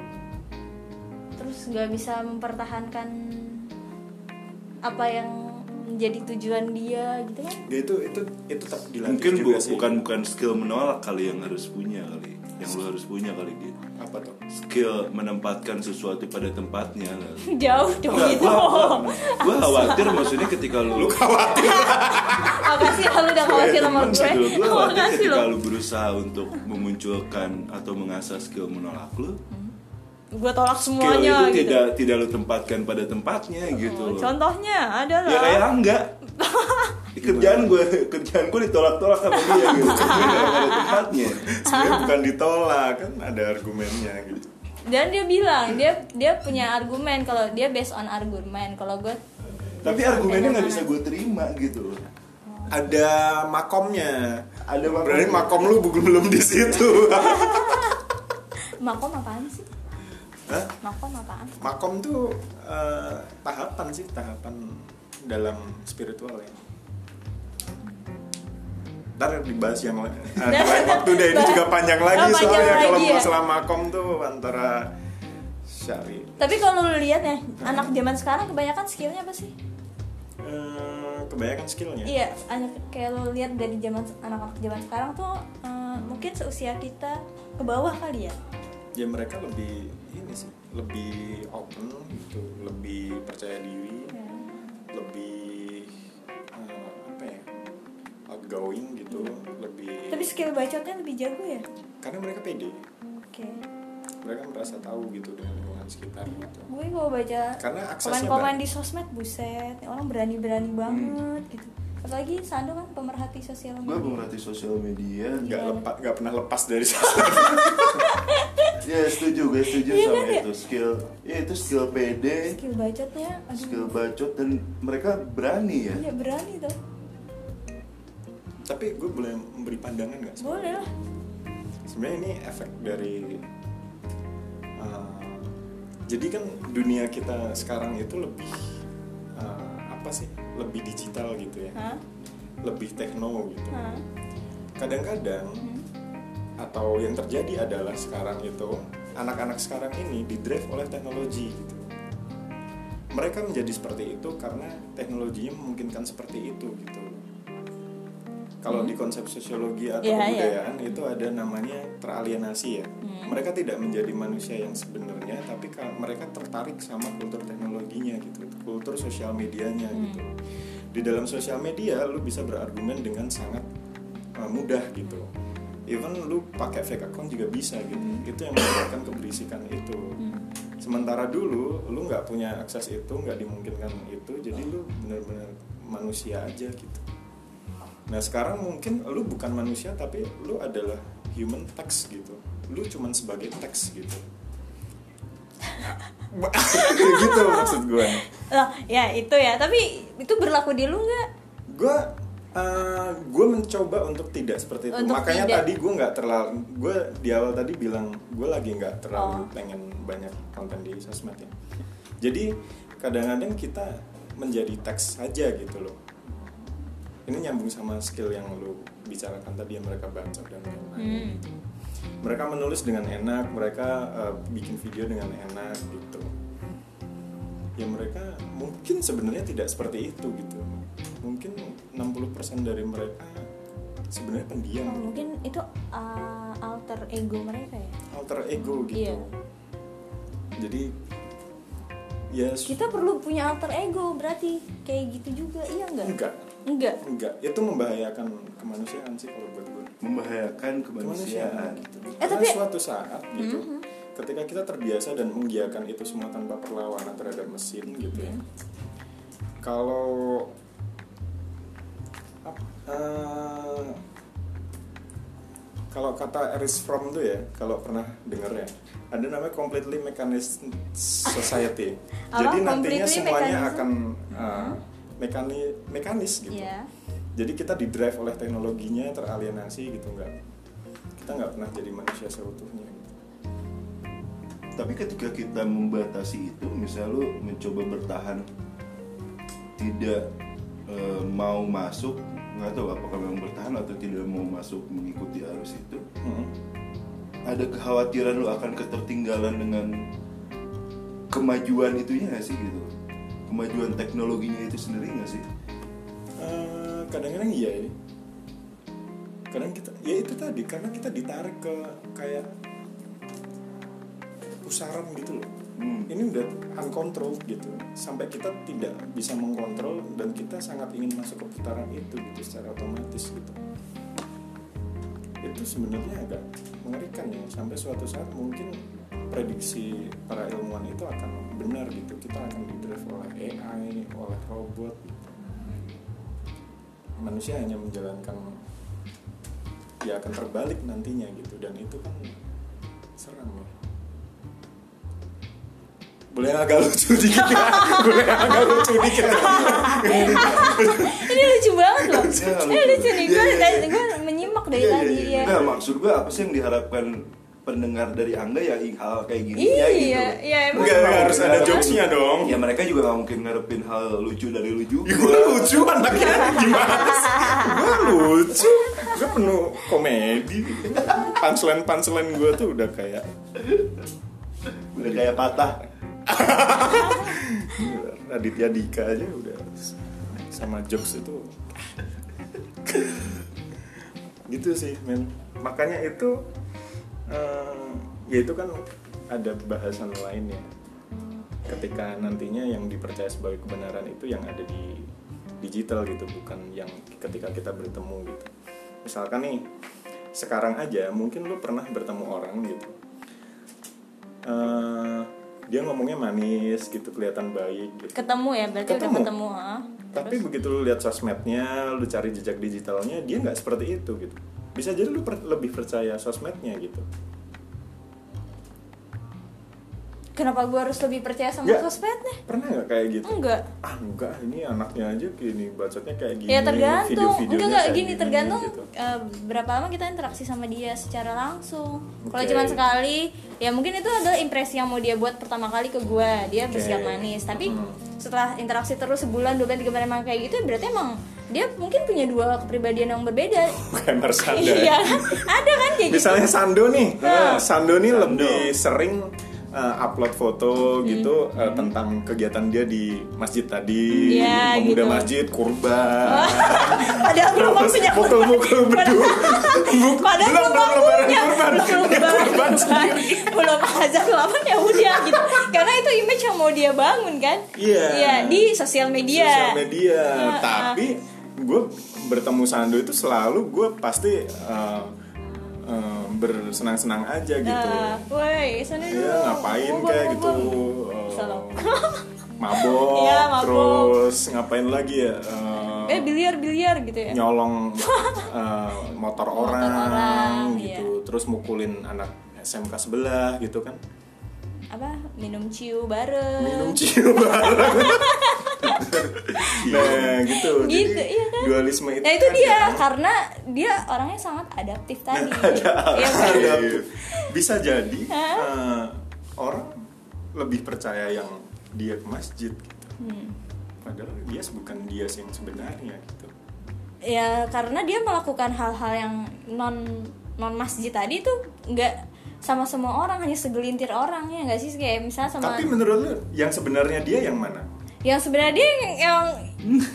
C: terus nggak bisa mempertahankan apa yang menjadi tujuan dia gitu kan
A: Dia itu itu itu tetap dilatih
B: Mungkin bu,
A: juga sih.
B: bukan bukan skill menolak kali yang harus punya kali, yang lu harus punya kali gitu.
A: apa tuh?
B: Skill menempatkan sesuatu pada tempatnya. kali.
C: jauh dong
B: Enggak,
C: itu
B: gua, gua- gua khawatir maksudnya ketika lu,
C: makasih lo udah khawatir sama
B: Temen
C: gue
B: gitu, gua khawatir
C: makasih lo
B: ketika lu berusaha untuk memunculkan atau mengasah skill menolak lu,
C: gue tolak
B: skill itu
C: semuanya gitu Oh,
B: tidak tidak lu tempatkan pada tempatnya gitu. loh.
C: Hmm, contohnya
B: Ya kayak
C: adalah
B: enggak. Di kerjaan gue kerjaan gue ditolak-tolak sama dia gitu. Gue nggak ada tempatnya.
A: Sebenarnya bukan ditolak kan ada argumennya gitu.
C: dan dia bilang dia dia punya argumen kalau dia based on argumen kalau gue
B: Tapi argumennya nggak bisa gue terima gitu. loh.
A: Ada makomnya.
B: Ada makom.
A: Berarti makom lu belum belum di situ.
C: makom apaan sih
A: Hah?
C: makom apaan
A: Makom tuh eh, tahapan sih, tahapan dalam spiritual ya. Ntar dibahas yang lain eh, di lain waktu deh, ini juga panjang lagi
C: Oh, panjang
A: soalnya kalau
C: lagi ya?
A: masalah makom tuh antara syari
C: tapi kalau lu lihat ya anak zaman sekarang kebanyakan skillnya apa sih
A: eh, kebanyakan
B: Ya.
A: skillnya.
C: Iya, anak kayak lo lihat dari zaman anak-anak zaman sekarang tuh eh, mungkin seusia kita ke bawah kali ya.
A: Ya mereka lebih ini sih, lebih open gitu, lebih percaya diri,
C: Iya.
A: lebih eh, apa ya, outgoing gitu, lebih
C: Iya. Tapi skill bacotnya lebih jago ya.
A: karena mereka pede.
C: Oke.
A: mereka merasa tahu gitu dengan lingkungan sekitar gitu
C: Gue kalau baca
A: Karena aksesnya
C: komen-komen
A: banyak. Hmm.
C: di sosmed buset, orang berani-berani banget gitu. Apalagi Sando kan pemerhati sosial
B: Gue
C: media.
B: pemerhati sosial media.
A: nggak
C: Iya.
A: lepas nggak pernah lepas dari sana
B: Ya setuju gue setuju
C: Iya
B: sama
C: kan, ya?
B: itu skill. Ya itu skill PD,
C: Skill bacotnya aduh.
B: skill bacot dan mereka berani ya.
C: Iya, berani tuh.
A: tapi gue boleh memberi pandangan nggak sih?
C: Boleh lah.
A: sebenarnya ini efek dari uh, jadi kan dunia kita sekarang itu lebih uh, apa sih lebih digital gitu ya
C: Hah?
A: lebih tekno gitu
C: Hah?
A: kadang-kadang
C: Hmm.
A: atau yang terjadi adalah sekarang itu anak-anak sekarang ini didrive oleh teknologi gitu. Mereka menjadi seperti itu karena teknologinya memungkinkan seperti itu gitu. Kalau di konsep sosiologi atau
C: Hmm. Iya, iya.
A: kebudayaan itu ada namanya teralienasi ya.
C: Hmm.
A: Mereka tidak menjadi manusia yang sebenarnya tapi ka- mereka tertarik sama kultur teknologinya gitu, kultur sosial medianya
C: Hmm.
A: gitu. Di dalam sosial media lu bisa berargumen dengan sangat uh, mudah gitu even lu pakai fake account juga bisa gitu itu yang menyebabkan keberisikan itu
C: Hmm.
A: sementara dulu lu nggak punya akses itu nggak dimungkinkan itu jadi lu bener-bener manusia aja gitu nah sekarang mungkin lu bukan manusia tapi lu adalah human text gitu lu cuman sebagai teks gitu gitu maksud gue
C: Lah, ya itu ya. Tapi itu berlaku di lu nggak?
A: gue gue eh, mencoba untuk tidak seperti itu
C: Untuk
A: makanya
C: tidak.
A: tadi gue nggak terlalu gue di awal tadi bilang gue lagi nggak terlalu
C: Oh.
A: pengen banyak konten di sosmed ya jadi kadang-kadang kita menjadi teks saja gitu loh ini nyambung sama skill yang lu bicarakan tadi yang mereka baca dan lain-lain
C: Hmm.
A: mereka menulis dengan enak mereka eh, bikin video dengan enak gitu ya mereka mungkin sebenarnya tidak seperti itu gitu mungkin 60% dari mereka sebenarnya pendiam
C: Oh, mungkin itu uh, alter ego mereka ya.
A: alter ego gitu
C: Iya.
A: jadi ya s-
C: Kita perlu punya alter ego berarti kayak gitu juga iya nggak?
A: enggak
C: Enggak.
A: enggak itu membahayakan kemanusiaan sih kalau buat gue
B: Membahayakan
A: kemanusiaan
B: kemanusiaan.
A: gitu.
C: Eh,
A: Karena
C: tapi- Mm-hmm.
A: suatu saat gitu ketika kita terbiasa dan menggiakan itu semua tanpa perlawanan terhadap mesin gitu
C: Iya.
A: ya kalau ap- eh, kalau kata Eris Fromm tuh ya kalau pernah denger ya ada namanya completely mechanism society
C: Apa?
A: jadi nantinya
C: Completely
A: semuanya
C: mechanism? Hmm.
A: akan eh, mekani mekanis gitu
C: Iya.
A: jadi kita di drive oleh teknologinya teralienasi gitu nggak kita nggak pernah jadi manusia seutuhnya gitu.
B: Tapi ketika kita membatasi itu, misal lu mencoba bertahan tidak eh, mau masuk nggak tahu apakah memang bertahan atau tidak mau masuk mengikuti arus itu
A: Hmm.
B: ada kekhawatiran lu akan ketertinggalan dengan kemajuan itunya nggak sih gitu kemajuan teknologinya itu sendiri nggak sih
A: Eh, kadang-kadang iya ini kadang kita ya itu tadi karena kita ditarik ke kayak pusaran gitu loh
B: Hmm.
A: ini udah uncontrolled gitu sampai kita tidak bisa mengkontrol dan kita sangat ingin masuk ke putaran itu gitu secara otomatis gitu itu sebenarnya agak mengerikan ya sampai suatu saat mungkin prediksi para ilmuwan itu akan benar gitu kita akan didrive oleh AI oleh robot manusia hanya menjalankan ya akan terbalik nantinya gitu dan itu kan serem ya boleh yang agak lucu dikit ya boleh yang agak lucu dikit ya?
C: ini lucu banget loh
B: Iya,
C: ini
B: lucu.
C: lucu nih gue
B: Iya, iya, iya.
C: menyimak dari tadi
B: iya.
C: ya
B: Nggak, maksud gue apa sih yang diharapkan pendengar dari angga ya i- hal kayak gini ya
C: Iya,
B: gitu.
C: iya, emang.
B: Mereka
A: Nggak, nggak, harus ada
B: ngarep-
A: jokes-nya dong.
B: Ya mereka juga nggak mungkin ngarepin hal lucu dari lucu.
A: Ya, gue lucu anaknya gimana sih gue lucu gue penuh komedi punchline punchline gue tuh udah kayak
B: Udah kayak patah.
A: iya, Raditya Dika aja udah sama jokes itu gitu sih men makanya itu eh, ya itu kan ada bahasan lain ya ketika nantinya yang dipercaya sebagai kebenaran itu yang ada di digital gitu bukan yang ketika kita bertemu gitu misalkan nih sekarang aja mungkin lu pernah bertemu orang gitu eh dia ngomongnya manis gitu kelihatan baik gitu
C: ketemu ya berarti udah
A: Ketemu.
C: ketemu ah.
A: tapi begitu lu lihat sosmednya lu cari jejak digitalnya dia nggak seperti itu gitu bisa jadi lu per- lebih percaya sosmednya gitu
C: kenapa gue harus lebih percaya sama
B: Iya.
A: Nggak.
C: sosmed nih
A: pernah nggak kayak gitu
C: enggak
A: ah enggak ini anaknya aja gini bacotnya kayak gini
C: ya
B: Iya,
C: tergantung
A: video-videonya
C: enggak enggak
A: kayak
C: gini tergantung
A: gitu.
C: eh, berapa lama kita interaksi sama dia secara langsung kalau
A: Oke.
C: cuman sekali ya mungkin itu adalah impresi yang mau dia buat pertama kali ke gue dia
A: Oke.
C: bersikap manis tapi
B: Hmm.
A: Mm.
C: setelah interaksi terus sebulan dua bulan tiga bulan emang kayak gitu ya berarti emang dia mungkin punya dua kepribadian yang berbeda
A: bukan bersanda
C: iya kan? ada kan kayak gitu
A: ya? misalnya Sando nih Ah,
C: Nah.
A: Sando nih
B: Sando.
A: lebih sering uh, upload foto
C: Hmm.
A: gitu uh, tentang kegiatan dia di masjid tadi
C: Iya,
A: pemuda
C: gitu.
A: masjid kurban
C: padahal belum maksudnya
A: mukul-mukul bedu Buk-
C: Padahal
A: belum belum
C: belum
A: lebaran
C: waktunya
A: kurban
C: Belum lebaran kurban Belum azan belum apa ya udah gitu Karena itu image yang mau dia bangun kan
A: Iya.
C: Di sosial media
A: sosial media
C: Ah, ah.
A: tapi gue bertemu Sando itu selalu gue pasti uh, uh, bersenang-senang aja gitu
C: Ah, Woi sana dulu
A: Iya ngapain
C: Ngobong,
A: kayak gitu
C: ngobong.
A: eh,
C: Salam.
A: mabok,
C: Iya, mabok.
A: terus ngapain lagi ya eh,
C: Eh biliar-biliar gitu ya
A: nyolong eh, motor orang,
C: orang, iya.
A: gitu terus mukulin anak SMK sebelah gitu kan
C: Apa minum ciu bareng
A: minum cium bareng nah gitu Jadi,
C: Gitu, iya kan?
A: dualisme itu
C: Nah itu
A: ada.
C: dia karena dia orangnya sangat adaptif tadi Iya kan?
A: Ada. bisa jadi eh, orang lebih percaya yang dia ke masjid gitu
C: Hmm.
A: padahal dia bukan dia yang sebenarnya gitu
C: ya karena dia melakukan hal-hal yang non non masjid tadi tuh nggak sama semua orang hanya segelintir orang ya nggak sih kayak misalnya sama
A: tapi menurut lu yang sebenarnya dia yang mana
C: yang sebenarnya dia yang yang,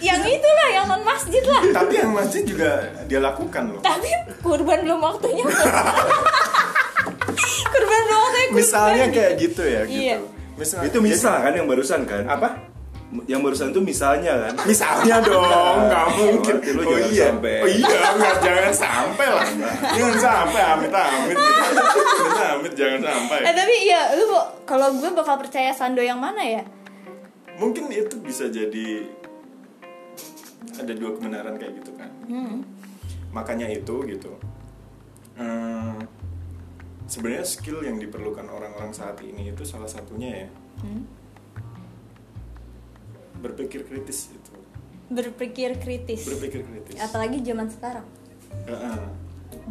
C: yang itulah yang non masjid lah
A: tapi yang masjid juga dia lakukan loh
C: tapi kurban belum waktunya kurban belum waktunya kurban
A: misalnya kayak gitu ya gitu
C: Iya.
A: misalnya
B: Itu misal kan yang barusan kan?
A: apa
B: Yang barusan tuh misalnya kan?
A: misalnya dong nggak mungkin
B: Berarti lu
A: oh
B: jangan
A: iya
B: sampai.
A: oh iya nggak jangan sampai lah jangan sampai amit amit gitu. amit amit jangan sampai
C: eh tapi iya lu mau- kalau gue bakal percaya sando yang mana ya
A: mungkin itu bisa jadi ada dua kebenaran kayak gitu kan
C: hmm.
A: makanya itu gitu eh, sebenarnya skill yang diperlukan orang-orang saat ini itu salah satunya ya
C: Hmm.
A: berpikir kritis itu
C: berpikir kritis
A: berpikir kritis
C: apalagi zaman sekarang
A: Heeh.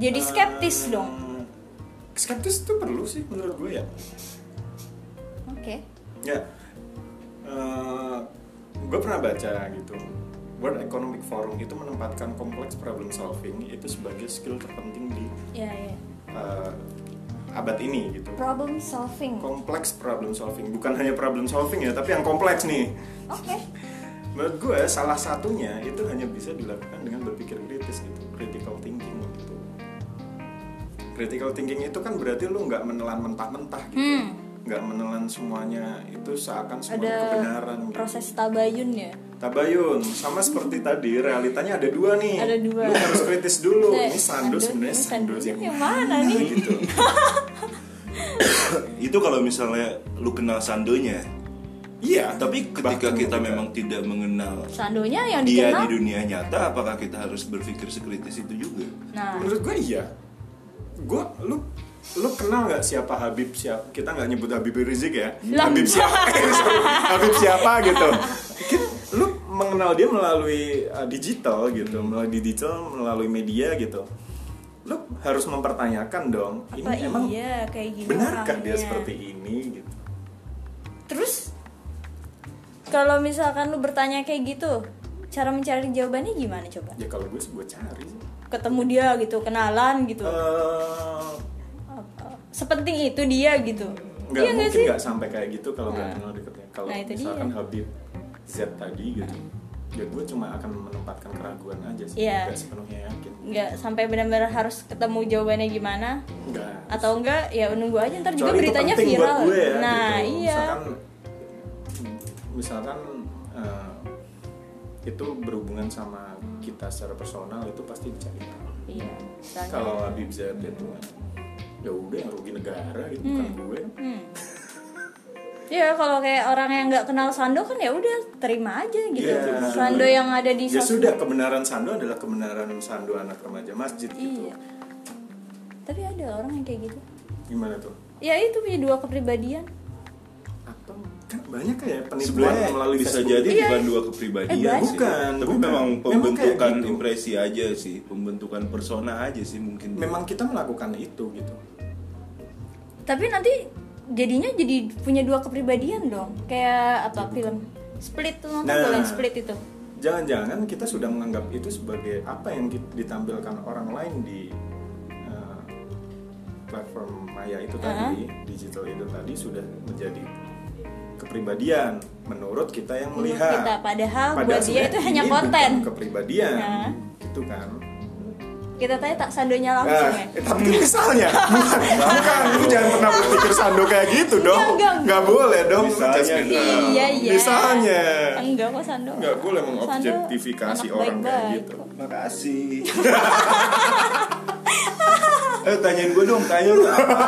C: jadi skeptis
A: Eh,
C: dong
A: skeptis itu perlu sih menurut gue ya
C: oke
A: ya eh, gue pernah baca gitu World Economic Forum itu menempatkan kompleks problem solving itu sebagai skill terpenting di
C: ya ya
A: eh, abad ini gitu.
C: problem solving oke
A: Kompleks problem solving bukan hanya problem solving ya, tapi yang kompleks nih. Menurut gue salah satunya itu hanya bisa dilakukan dengan berpikir kritis gitu, critical thinking gitu. Critical thinking itu kan berarti lu nggak menelan mentah-mentah gitu,
C: Hmm.
A: nggak menelan semuanya itu seakan
C: ada
A: semuanya kebenaran. gitu.
C: proses tabayun ya
A: Tabayun sama seperti tadi realitanya ada dua nih.
C: Ada dua.
A: Lu harus kritis dulu.
C: Eh,
A: ini sandus sebenarnya
C: ini
A: sandus yang
C: yang mana nih?
A: gitu.
B: itu kalau misalnya lu kenal sandonya
A: Iya.
B: tapi ketika
A: bahkan gitu.
B: kita
A: ketika-
B: memang tidak mengenal
C: sandonya yang
B: dia
C: dikenal
B: di dunia nyata apakah kita harus berpikir sekritis itu juga
C: nah
A: Menurut gue iya. Gue lu lu kenal nggak siapa Habib siapa? Kita nggak nyebut Habib Rizik ya.
C: Lah.
A: Habib siapa? Eh, sorry. Habib siapa gitu. Kita- Lu mengenal dia melalui uh, digital gitu, melalui digital, melalui media gitu. Lu harus mempertanyakan dong.
C: apa
A: ini emang
C: iya kayak gini
A: benarkah dia
C: orangnya?
A: seperti ini gitu?
C: Terus kalau misalkan lu bertanya kayak gitu, cara mencari jawabannya gimana coba?
A: Ya kalau gue sih gue cari sih.
C: Ketemu dia gitu, kenalan gitu.
A: Eh,
C: Apa- Sepenting itu dia gitu.
A: nggak
C: Iya nggak
A: mungkin
C: sih?
A: nggak sampai kayak gitu kalau nggak
C: Nah.
A: kenal deketnya. Kalau
C: Nah, itu
A: misalkan
C: dia.
A: Habib Z tadi gitu, ya gue cuma akan menempatkan keraguan aja sih,
C: Iya.
A: nggak sepenuhnya yakin.
C: Nggak sampai benar-benar harus ketemu jawabannya gimana
A: Nggak.
C: atau enggak ya nunggu aja ntar juga
A: Kecuali itu
C: beritanya
A: penting buat
C: viral.
A: gue ya,
C: nah,
A: gitu.
C: iya.
A: Misalkan, misalkan eh, itu berhubungan sama kita secara personal itu pasti dicari tahu.
C: Iya. misalnya.
A: Kalau Habib Z itu ya udah yang rugi negara itu bukan gue.
C: Hmm. Ya kalau kayak orang yang nggak kenal Sando kan ya udah terima aja gitu.
A: Iya.
C: Sando yang ada di
A: Ya
C: sosmed.
A: sudah kebenaran Sando adalah kebenaran Sando anak remaja masjid gitu.
C: Iya. Tapi ada orang yang kayak gitu.
A: Gimana tuh?
C: Ya itu punya dua kepribadian.
A: Apa? Kan banyak ya penipuan
B: sebenarnya
A: melalui
B: bisa
A: Facebook.
B: jadi
C: Iya.
B: bukan dua
C: Eh, banyak.
B: kepribadian sih.
A: ya. Bukan,
B: tapi
A: bukan.
B: memang
A: Memang
B: pembentukan
A: kayak gitu.
B: impresi aja sih pembentukan persona aja sih mungkin
A: Memang kita melakukan itu gitu.
C: Tapi nanti jadinya jadi punya dua kepribadian dong. Kayak apa film Split tuh nonton
A: Nah.
C: tuh yang Split itu.
A: Jangan-jangan kita sudah menganggap itu sebagai apa yang ki- ditampilkan orang lain di eh, platform maya itu tadi, digital itu tadi sudah menjadi kepribadian menurut kita yang
C: Menurut
A: melihat.
C: kita. Padahal buat dia
A: sebenarnya
C: itu hanya
A: ini bukan
C: konten.
A: kepribadian,
C: Nah.
A: gitu kan.
C: Kita tanya tak sandonya langsung
A: Nah,
C: ya.
A: eh, tapi misalnya bukan, bukan, lu jangan pernah berpikir Sando kayak gitu dong.
C: Iya, enggak, enggak.
A: Nggak boleh dong.
B: Misalnya.
A: judgmental.
C: Iya iya.
A: Nah, Misalnya.
C: Enggak kok Sando.
A: Nggak boleh
C: Sando
A: mengobjektifikasi
C: anak
A: orang kayak
C: baik-baik
A: gitu.
C: kok.
B: makasih eh tanyain gue dong tanya lu apa?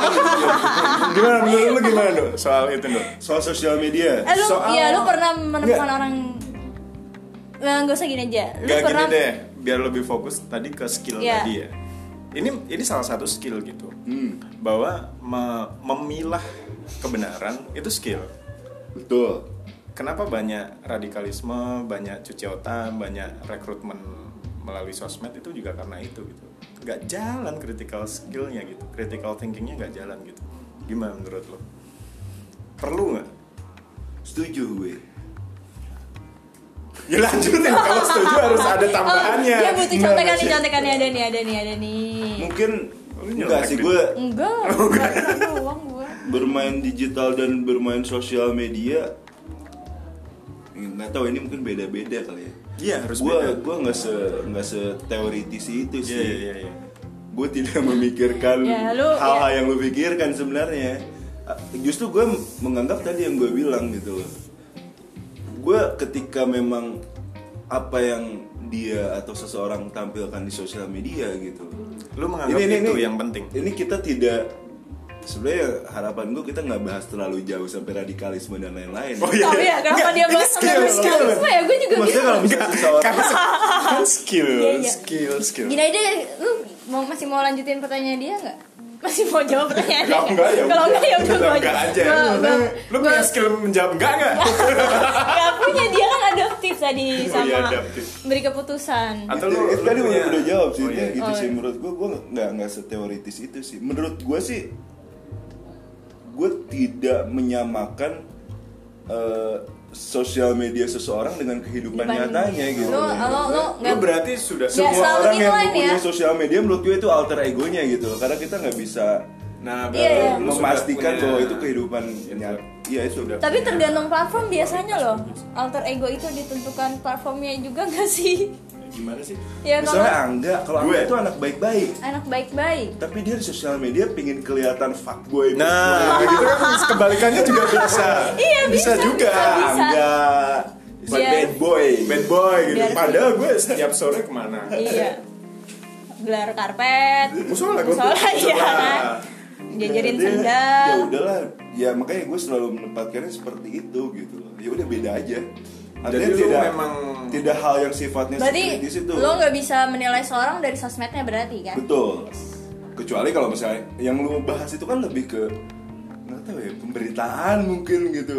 A: Gimana menurut lu gimana dok soal itu dok?
B: soal sosial media
C: Eh lu,
A: Soal-
C: ya lu pernah menemukan
A: Nggak.
C: orang Nah, gak usah gini aja. Lu
A: Gak gini
C: pernah
A: deh, biar lebih fokus tadi ke skill
C: Iya.
A: tadi ya. Ini ini salah satu skill gitu,
B: Hmm,
A: bahwa me- memilah kebenaran itu skill.
B: betul
A: Kenapa banyak radikalisme, banyak cuci otak, banyak rekrutmen melalui sosmed itu juga karena itu gitu. Gak jalan critical skillnya gitu, critical thinkingnya gak jalan gitu. Gimana menurut lo? Perlu nggak?
B: setuju gue
A: Ya lanjutin kalau setuju harus ada tambahannya.
C: Oh, dia butuh
A: Gimana
C: contekannya,
A: sih? Oh,
C: contekannya ada nih, ada nih, ada nih.
B: mungkin
A: Lu
B: enggak
A: nyelek
B: sih
A: deh.
B: gue
C: Enggak, enggak enggak doang gua.
B: bermain digital dan bermain sosial media nggak tahu ini mungkin beda-beda kali ya
A: Iya harus
B: gue
A: beda.
B: gue nggak se nggak seteoritis itu sih
A: Iya iya iya.
B: gue tidak memikirkan
C: Ya, lu-
B: hal-hal
C: ya.
B: yang lu pikirkan sebenarnya Ah, justru gue menganggap tadi yang gue bilang gitu loh gue ketika memang apa yang dia atau seseorang tampilkan di sosial media gitu loh
A: Lu menganggap itu yang penting.
B: ini kita tidak sebenarnya harapan gue kita nggak bahas terlalu jauh sampai radikalisme dan lain-lain
A: Oh, iya.
C: Tahu ya kenapa
A: Nggak,
C: dia
A: ini
C: bahas
A: skill,
C: sama
A: skill.
C: radikalisme ya gue juga
B: maksudnya
C: gitu.
B: kalau
A: Iya.
B: misalnya seseorang
A: Karena se- kan skill,
C: Iya, iya.
A: skill, skill.
C: Gini aja, lu mau masih mau lanjutin pertanyaan dia enggak? Masih mau jawab pertanyaan dia
A: Kalau enggak ya
C: Kalau enggak ya udah
A: Kalau
C: gua
A: enggak aja.
C: Gua- gua-
A: Lu
C: gua-
A: punya skill menjawab enggak enggak?
C: Enggak punya dia kan adaptif tadi
A: iya,
C: sama
A: adaptif.
C: beri keputusan.
A: Atau
B: Itu-
A: lu-
B: itu
A: lu
B: tadi
A: punya-
B: udah, udah jawab sih
A: Oh, iya.
B: itu gitu
C: Oh,
B: sih
C: iya.
B: menurut gue gue nggak nggak seteoritis itu sih menurut gue sih gue tidak menyamakan eh, sosial media seseorang dengan kehidupan
C: Depan-
B: nyatanya gitu.
C: Lo lo lo
A: Lu
C: nggak
A: berarti sudah
C: Nggak
B: Semua
C: selalu
B: orang yang
C: inline ya.
B: mempunyai sosial media menurut gue itu alter egonya gitu loh. Karena kita nggak bisa
A: Nah,
C: Iya,
A: berarti
C: iya.
A: lu sudah
B: memastikan
A: punya-
B: bahwa itu kehidupan nyata. Iya itu udah.
C: tapi tergantung platform biasanya loh alter ego itu ditentukan platformnya juga nggak sih
A: Gimana sih?
C: ya
B: Misalnya
C: kalau
B: Angga, kalau Angga
A: Gue.
B: itu anak baik-baik,
C: anak baik-baik
B: tapi dia di sosial media pingin kelihatan fuckboy.
A: Nah, kayak gitu kan kebalikannya juga bisa.
C: Iya, bisa,
A: juga.
C: bisa, bisa. Iya.
B: Angga
C: Biar-
B: bad boy.
A: Bad boy gitu.
C: Biar-
A: Padahal gue setiap sore kemana?
C: iya gelar karpet
A: Musola gue.
C: Musola, iya kan? jajarin
B: Dia-
C: sendal
B: Ya udahlah, ya makanya gue selalu menempatkannya seperti itu gitu loh. Ya udah beda aja. Artinya
A: Jadi lu
B: tidak
A: memang-
B: tidak hal yang sifatnya
C: berarti
B: sekritis itu.
C: lo nggak bisa menilai seorang dari sosmednya berarti kan
B: Betul. Kecuali kalau misalnya yang lu bahas itu kan lebih ke nggak tahu ya pemberitaan mungkin gitu.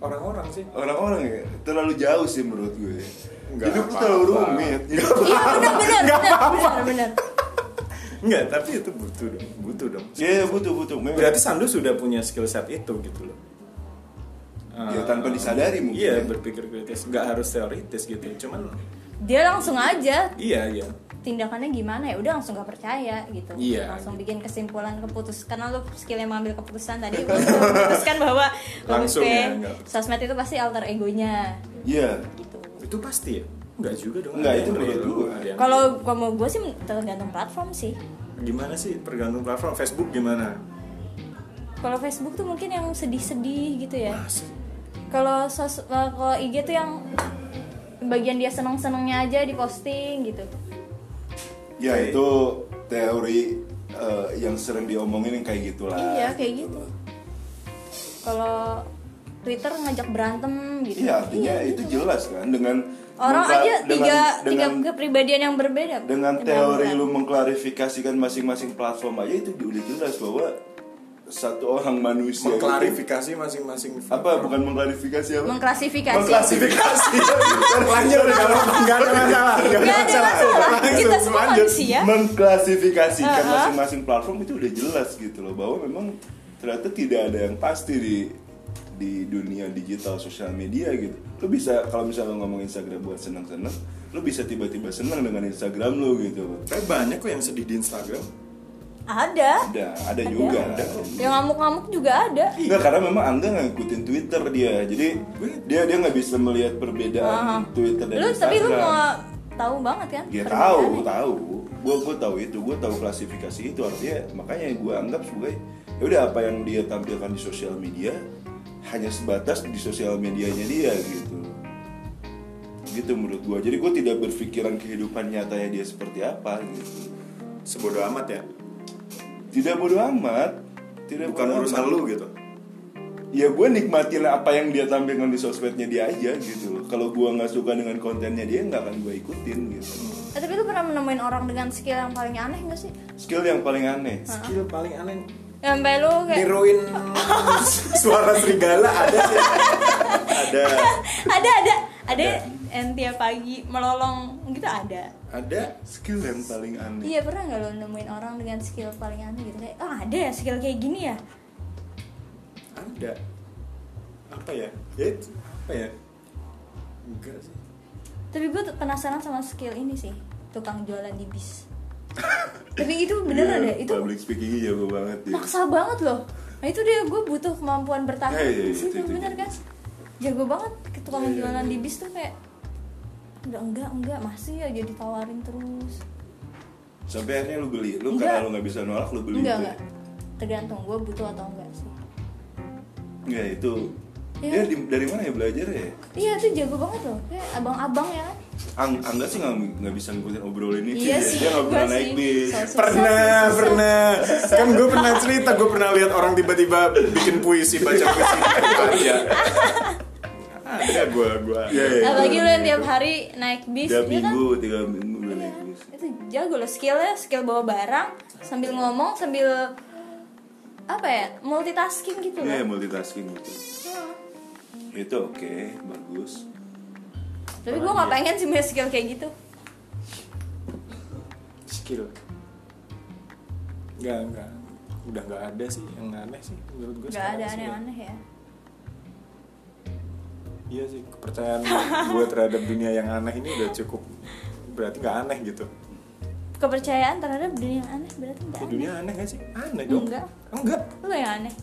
A: Orang-orang sih.
B: Orang-orang ya terlalu jauh sih menurut gue.
A: Nggak
B: Hidup tuh
A: apa-apa.
B: terlalu rumit.
C: iya benar benar benar benar benar
A: Enggak, tapi itu butuh dong, butuh dong.
B: Iya butuh butuh. Memang.
A: Berarti Sandu sudah punya skill set itu gitu loh.
B: Ya, tanpa disadari mungkin
A: Iya,
B: ya.
A: berpikir kritis, nggak harus teoritis gitu. Cuman
C: dia langsung aja
A: iya iya.
C: tindakannya gimana ya udah langsung gak percaya gitu
A: Iya.
C: langsung bikin kesimpulan keputus karena lu skillnya mengambil keputusan tadi lu sudah memutuskan bahwa
A: Langsung
C: oke,
A: ya, enggak.
C: sosmed itu pasti alter egonya
B: Iya.
C: gitu
A: Itu pasti ya? Enggak juga dong.
B: Nggak,
A: ada
B: itu
A: yang
B: menurut
A: real,
B: gua.
A: ada yang-
C: kalau gua mau gue sih tergantung platform sih
A: gimana sih tergantung platform Facebook
C: Eh.
A: gimana?
C: kalau Facebook tuh mungkin yang sedih-sedih gitu ya
A: Mas,
C: kalau sos eh, kalau IG tuh yang bagian dia seneng-senengnya aja diposting gitu
B: Ya itu teori eh, yang sering diomongin yang kayak gitulah.
C: Iya, kayak gitu. kalau Twitter ngajak berantem gitu
B: Iya artinya itu jelas kan dengan
C: orang
B: mengkla-
C: aja
B: dengan-
C: tiga tiga
B: dengan
C: kepribadian yang berbeda
B: dengan
C: Yang
B: teori
C: berbeda.
B: lu mengklarifikasikan masing-masing platform aja itu udah jelas bahwa satu orang manusia itu-
A: mengklarifikasi masing-masing
B: apa bukan mengklarifikasi apa
C: mengklasifikasi
B: mengklasifikasi
A: lanjut kalau nggak ada masalah nggak
C: Nggak ada masalah kita semua manusia
B: mengklasifikasikan
C: Uh-huh.
B: masing-masing platform itu udah jelas gitu loh bahwa memang ternyata tidak ada yang pasti di di dunia digital sosial media gitu lo bisa kalau misalnya lo ngomong Instagram buat seneng-seneng lo bisa tiba-tiba seneng dengan Instagram lo gitu
A: tapi banyak kok yang sedih di Instagram
C: ada
B: ada ada juga
A: Ada kok.
C: yang ngamuk-ngamuk juga ada
B: Enggak karena memang Angga nggak ngikutin Twitter dia jadi dia dia nggak bisa melihat perbedaan
C: Aha.
B: Twitter dan
C: lu tapi lu
B: Instagram.
C: mau tahu banget kan
B: Ya tahu,
C: perbedaannya.
B: tahu. Gue gue tahu itu, gue tahu klasifikasi itu artinya makanya gue anggap sebagai ya udah apa yang dia tampilkan di sosial media hanya sebatas di sosial medianya dia gitu. Gitu menurut gue. Jadi gue tidak berpikiran kehidupan nyatanya dia seperti apa gitu.
A: sebodoh amat ya
B: Tidak bodoh amat. Tidak
A: bukan
B: bodo
A: urusan
B: amat.
A: lu gitu
B: Ya gue nikmatin apa yang dia tampilkan di sosmednya dia aja gitu loh. Kalau gue nggak suka dengan kontennya dia nggak akan gue ikutin gitu.
C: Eh, tapi lu pernah menemuin orang dengan skill yang paling aneh gak sih
B: Skill yang paling aneh.
A: skill paling aneh
C: sampai lu kayak
A: niruin suara serigala ada sih ada
C: ada ada ada yang tiap pagi melolong gitu ada
A: ada
B: Skill yang paling aneh.
C: iya pernah nggak lo nemuin orang dengan skill paling aneh gitu kayak oh ada ya skill kayak gini ya
A: ada apa ya ya itu, apa ya enggak sih
C: tapi gue penasaran sama skill ini sih tukang jualan di bis tapi itu beneran
B: Iya,
C: deh itu
B: public speakingnya jago banget dia.
C: maksa banget loh nah itu dia gue butuh kemampuan bertahan
B: Iya, iya, iya,
C: Sih,
B: itu, itu,
C: bener
B: itu.
C: kan jago banget ke tukang
B: Iya, iya,
C: jualan
B: iya.
C: di bis tuh kayak udah enggak enggak masih aja ditawarin terus
B: Sampai akhirnya lu beli, lu
C: Enggak.
B: karena lu nggak bisa nolak lu beli.
C: enggak
B: itu ya?
C: enggak tergantung gue butuh atau enggak sih
B: Enggak itu.
C: Iya.
B: Dia di- dari mana ya belajar ya?
C: iya itu jago banget loh kayak abang-abang ya kan
B: Ang Angga sih nggak nggak bisa ngikutin obrolan ini.
C: Iya sih,
B: Dia nggak pernah
C: gua
B: naik
C: sih.
B: bis.
C: So- Susah,
A: pernah
C: susah.
A: pernah kan gue pernah cerita gue pernah lihat orang tiba-tiba bikin puisi baca puisi
B: Iya.
A: ada gue gue
B: Iya, iya.
C: apalagi lu yang tiap hari naik bis
B: Tiap
C: ya kan
B: minggu, tiga minggu udah
A: Iya.
B: naik bis.
C: itu jago loh skillnya skill bawa barang sambil ngomong sambil apa ya multitasking gitu
B: Iya
C: loh
B: multitasking gitu. Itu oke, bagus.
C: tapi gue
A: Iya.
C: nggak pengen sih punya skill kayak gitu
A: skill nggak nggak udah nggak ada sih yang aneh sih menurut gue
C: nggak ada aneh-aneh ya
A: iya sih kepercayaan gue terhadap dunia yang aneh ini udah cukup berarti nggak aneh gitu
C: kepercayaan terhadap dunia yang aneh berarti enggak
A: Ya,
C: aneh.
A: dunia aneh gak sih aneh dong
C: Enggak.
A: enggak
C: lu yang aneh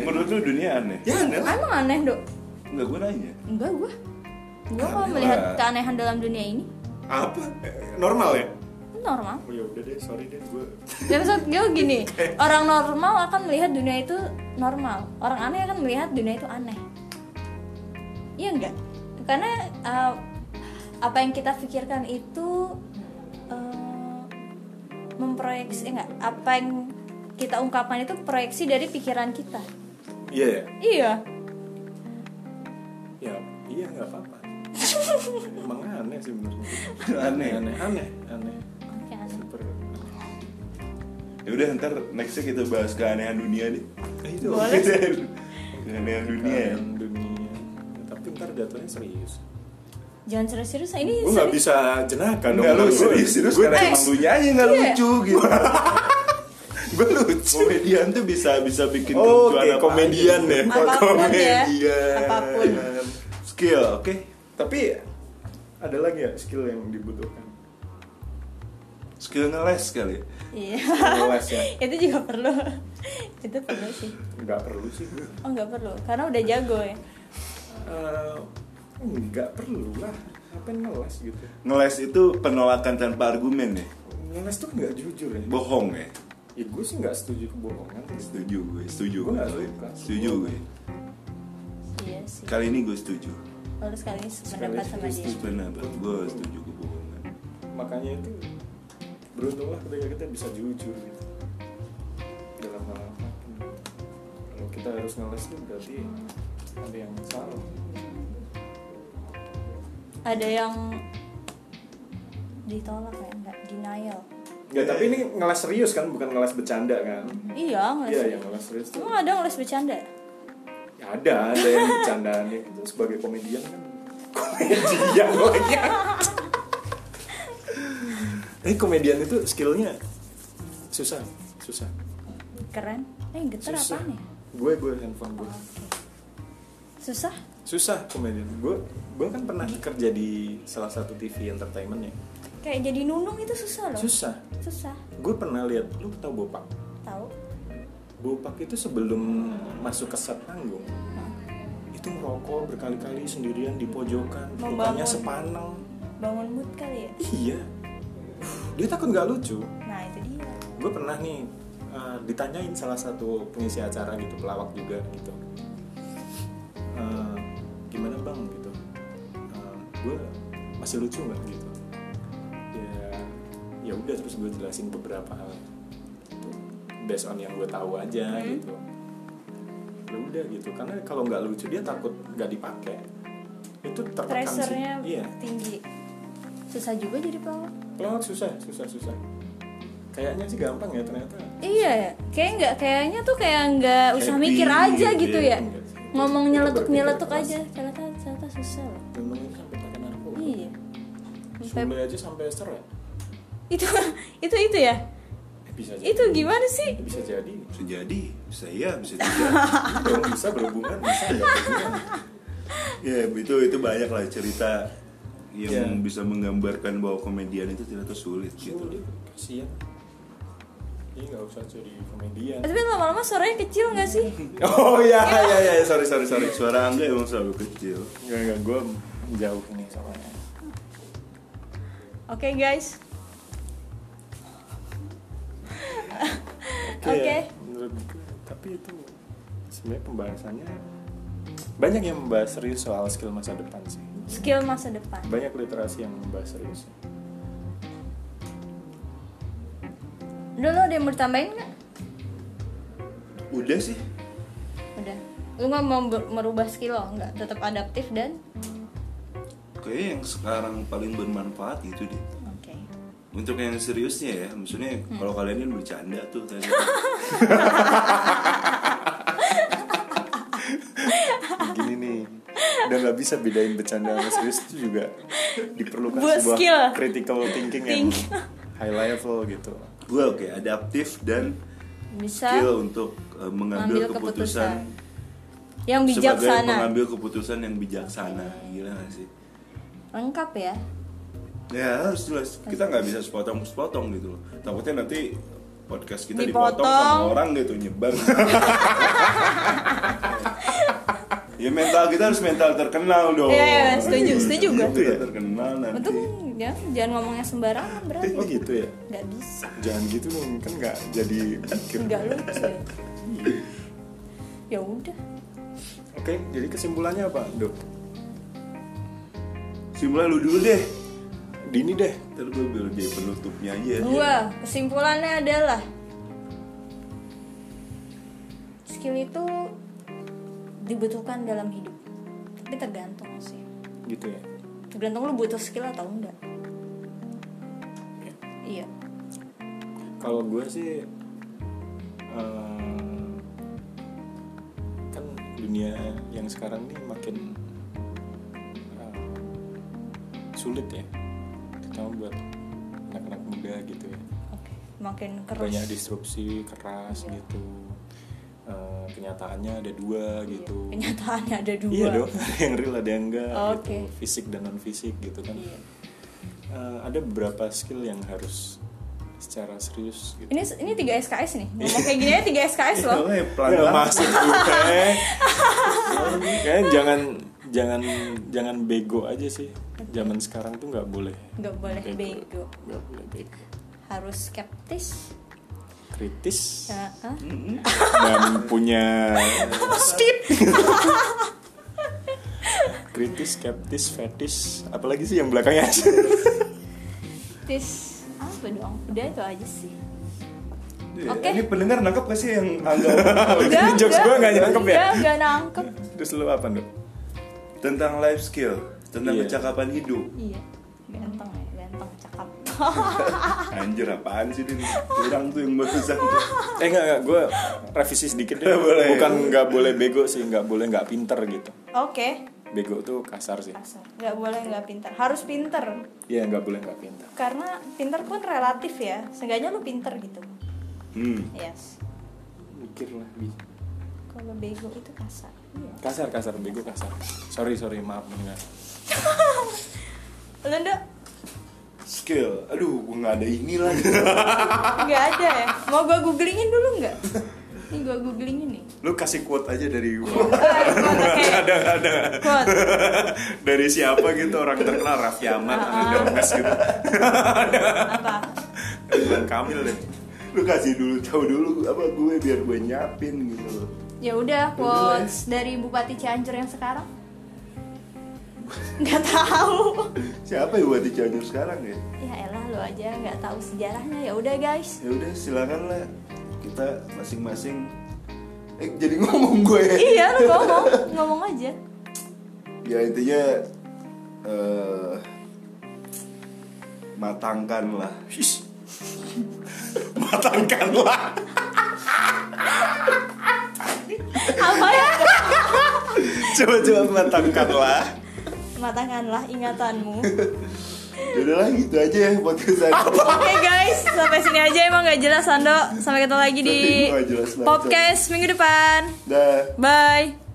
B: Menurut lu dunia aneh?
A: ya aneh lah
C: emang aneh dok
B: Enggak, gue nanya
C: enggak gua gua
B: Aneh
C: kalau
B: lah.
C: melihat keanehan dalam dunia ini
A: apa Eh, normal ya
C: normal
A: oh, ya udah deh sorry deh gue
C: dan Ya, maksud gue gini orang normal akan melihat dunia itu normal orang aneh akan melihat dunia itu aneh iya enggak karena uh, apa yang kita pikirkan itu uh, memproyeksi enggak apa yang kita ungkapkan itu proyeksi dari pikiran kita
A: iya ya
C: iya
A: ya iya nggak apa-apa emang aneh sih menurut
B: Aneh
A: aneh aneh aneh
C: Oke, aneh.
A: super
B: Ya udah ntar nextnya kita bahas keanehan dunia deh
A: Eh, itu
C: Boleh.
B: Keanehan gitu. dunia ya
A: Keren Kan, dunia Ya, tapi ntar jatuhnya serius
C: jangan serius-serius ini
A: gue nggak
C: serius.
A: bisa jenaka dong
B: Enggak lu
A: Gua-
B: serius serius
A: gua-
B: karena
C: Eh,
B: emang lu nyanyi enggak
C: iya.
B: lucu gitu. gue lucu. Komedian tuh bisa bisa bikin
A: Oh,
B: kelucuan
A: oke,
B: apa
A: komedian
B: aja.
A: ya.
C: Apapun ya.
B: Komedian.
C: Apapun.
A: Iya.
B: Skill, oke.
A: tapi ada lagi ya skill yang dibutuhkan
B: Skill ngeles kali. ya?
C: iya
A: ngeles ya
C: itu juga perlu itu perlu sih
A: nggak perlu sih
C: oh nggak perlu karena udah jago ya
A: Eh, nggak perlu lah apa ngeles gitu
B: Ngeles itu penolakan tanpa argumen ya.
A: ngeles tuh nggak jujur ya
B: Bohong ya.
A: ya gue sih nggak setuju kebohongan
B: Setuju gue, setuju
A: Gua
B: gue.
A: nggak
B: kali.
A: suka.
B: Setuju gue.
C: iya sih
B: Kali ini gue setuju.
C: Lalu sekali ini pendapat sama
A: Kan sekali
C: dia
A: setuju.
B: Pendapat gue setuju kebohongan.
A: makanya itu beruntunglah ketika kita bisa jujur gitu dalam hal apa kalau kita harus ngeles tuh berarti ada yang salah Ya,
C: ada yang ditolak ya nggak denial
A: Nggak, tapi ini ngeles serius kan bukan ngeles bercanda kan
C: iya ngeles
A: iya ya ngeles serius tuh
C: cuma ada ngeles bercanda
A: ya ada ada yang bercandaannya gitu sebagai komedian kan komedian lagi eh komedian itu skillnya susah susah
C: keren eh getar apa
A: susah
C: nih
A: gue gue handphone gue
C: susah
A: susah komedian gue gue kan pernah kerja di salah satu TV entertainment ya
C: kayak jadi nunung itu susah loh
A: susah
C: susah
A: gue pernah lihat lu tau bopak
C: tahu
A: bopak itu sebelum masuk ke set panggung itu ngerokok berkali-kali sendirian di pojokan mukanya
C: Membangun.
A: sepaneng
C: bangun mood kali ya
A: iya dia takut nggak lucu
C: nah itu dia
A: gue pernah nih eh, ditanyain salah satu pengisi acara gitu pelawak juga gitu Eh, gimana bang gitu gue masih lucu nggak gitu ya ya udah terus gue jelasin beberapa hal gitu, based on yang gue tahu aja
C: Hmm.
A: gitu ya udah gitu karena kalau nggak lucu dia takut nggak dipakai itu tertekan sih
C: pressure-nya
A: iya
C: tinggi susah juga jadi pelawak
A: pelawak susah susah susah kayaknya sih gampang ya ternyata
C: Iya, ya. kayak nggak kayaknya tuh kayak nggak usah
B: Happy
C: mikir aja
B: gitu
C: gitu
B: ya.
C: ya.
A: Enggak Oh, iya sih.
C: Ngomong
A: Itu
C: nyeletuk
A: berpikir
C: nyeletuk
A: keras.
C: aja, ternyata ternyata susah loh.
A: Memang ini kan petaka narkoba.
C: Iya.
A: Sule aja sampai seret.
C: Itu itu itu ya.
A: Eh, bisa jadi.
C: Itu gimana sih?
A: Bisa jadi.
B: Bisa jadi, bisa iya, bisa tidak.
A: Kalau bisa berhubungan bisa nggak berhubungan.
B: Ya itu itu banyak lah cerita yang
A: Ya.
B: bisa menggambarkan bahwa komedian itu ternyata sulit gitu.
A: Sulit. Kasian. Ini nggak usah jadi komedian.
C: Tapi lama-lama suaranya kecil nggak sih?
A: Oh
B: Ya,
A: iya iya iya sorry sorry sorry.
B: Sorry, suara Angga emang selalu kecil.
A: Enggak enggak gue jauh ini soalnya.
C: Oke guys.
A: Oke.
C: Oke.
A: ya, menurut gue. Tapi itu sebenarnya pembahasannya banyak yang membahas serius soal skill masa depan sih.
C: Skill masa depan.
A: Banyak literasi yang membahas serius.
C: Udah lo ada yang mau ditambahin nggak?
B: Udah sih.
C: Udah. Lu nggak mau ber- merubah skill lo nggak? Tetap adaptif dan
B: Kayaknya yang sekarang paling bermanfaat itu deh.
C: oke.
B: Untuk yang seriusnya ya, maksudnya
C: Hmm.
B: kalau kalian kan bercanda tuh tadi.
A: gini nih udah nggak bisa bedain bercanda sama serius itu juga diperlukan
C: Buat
A: sebuah
C: skill.
A: critical thinking yang
C: Think.
A: high level gitu
B: Gue oke, adaptif dan
C: Bisa.
B: skill untuk eh, mengambil
C: Mengambil keputusan.
B: keputusan,
C: Yang
B: sebagai
C: bijaksana.
B: pengambil keputusan yang bijaksana gila gak sih
C: lengkap ya
B: ya harus jelas kita nggak bisa sepotong sepotong gitu loh takutnya nanti podcast kita
C: Dipotong.
B: dipotong, sama orang gitu nyebar ya mental kita harus mental terkenal dong
C: Iya, iya, setuju, setuju gua.
B: Mental kita terkenal nanti
C: untuk ya jangan ngomongnya sembarangan berarti
A: Oh gitu ya.
C: nggak bisa
A: Jangan gitu dong, kan nggak jadi mikir.
C: nggak lucu ya. ya udah
A: Oke, jadi kesimpulannya apa, Dok?
B: Simula lu dulu deh
A: Dini deh.
B: ntar gue biar jadi penutupnya aja
C: Gua kesimpulannya adalah skill itu dibutuhkan dalam hidup. Tapi tergantung sih.
A: Gitu ya.
C: Tergantung lu butuh skill atau enggak.
A: Ya.
C: Iya.
A: Kalau gue sih eh, kan dunia yang sekarang nih makin eh, sulit ya. Terutama buat anak-anak muda gitu ya.
C: Oke. Makin keras.
A: banyak disrupsi keras
C: Iya.
A: gitu Eh, kenyataannya ada dua
C: Iya.
A: gitu
C: Kenyataannya ada dua.
A: iya dong ada yang real ada yang enggak gitu
C: Oke.
A: fisik dan non fisik gitu kan
C: Iya.
A: Eh, ada beberapa skill yang harus secara serius gitu
C: Ini ini 3 SKS nih.
A: Iya.
C: Ngomong kayak gini aja 3 SKS
B: Ya,
C: loh.
B: makanya pelan
A: ya,
B: banget.
A: maksud gue kayaknya eh. jangan jangan jangan bego aja sih zaman sekarang tuh nggak boleh
C: Nggak boleh bego.
A: nggak boleh bego
C: Harus skeptis.
A: kritis
C: Ya, ah.
A: Hmm.
B: Mm-mm.
A: dan punya kritis skeptis fetish apalagi sih yang belakangnya
C: Skeptis. Apa dong? Udah itu aja sih. Oke.
B: Iya, Ini pendengar nangkep gak sih yang agak
C: Udah,
A: Ini jokes
C: udah.
A: gua nggak nangkep ya?
C: Udah, nggak nangkep.
A: terus lu apa dok
B: tentang life skill, tentang
A: Iya.
B: kecakapan hidup.
C: Iya, ganteng ya, ganteng, cakep.
B: Anjir apaan sih ini? Kurang tuh yang barusan tuh.
A: eh nggak nggak gue revisi sedikit deh
B: Boleh.
A: bukan nggak boleh bego sih nggak boleh nggak pinter gitu
C: Oke,
A: bego tuh kasar sih
C: kasar. Nggak boleh nggak pintar, harus pinter.
A: iya nggak boleh nggak pinter
C: Karena pinter pun relatif ya, seenggaknya lu pinter gitu.
B: Hmm.
C: Yes.
A: mikir lah Bi.
C: Kalau bego itu kasar. Iya.
A: kasar kasar bego kasar sorry sorry maaf mendengar
C: Lu Nduk?
B: Skill. Aduh, gua nggak ada ini lagi.
C: nggak ada ya? Mau gua googlingin dulu nggak? Ini gua googlingin nih.
B: Lu kasih quote aja dari
C: Ada ada. Quote.
B: dari siapa gitu orang terkenal Raffi Ahmad, Ananda Mas gitu.
C: Apa?
B: Ridwan Kamil deh. Lu kasih dulu tahu dulu apa gue biar gue nyapin gitu loh.
C: Ya udah, quotes dari Bupati Cianjur yang sekarang. Nggak tahu.
B: Siapa ya buat dijajar sekarang ya?
C: ya elah lo aja nggak tahu sejarahnya ya udah guys
B: Ya udah silakan lah. Kita masing-masing Eh, jadi ngomong gue.
C: iya lo ngomong ngomong aja
B: ya intinya eh matangkanlah matangkanlah
C: apa ya
B: coba coba matangkanlah
C: matangkanlah ingatanmu
B: udahlah gitu aja ya podcast saya
C: oke guys sampai sini aja emang nggak jelas Sando sampai ketemu lagi di
B: Nggak jelas banget.
C: podcast minggu depan
B: dah
C: bye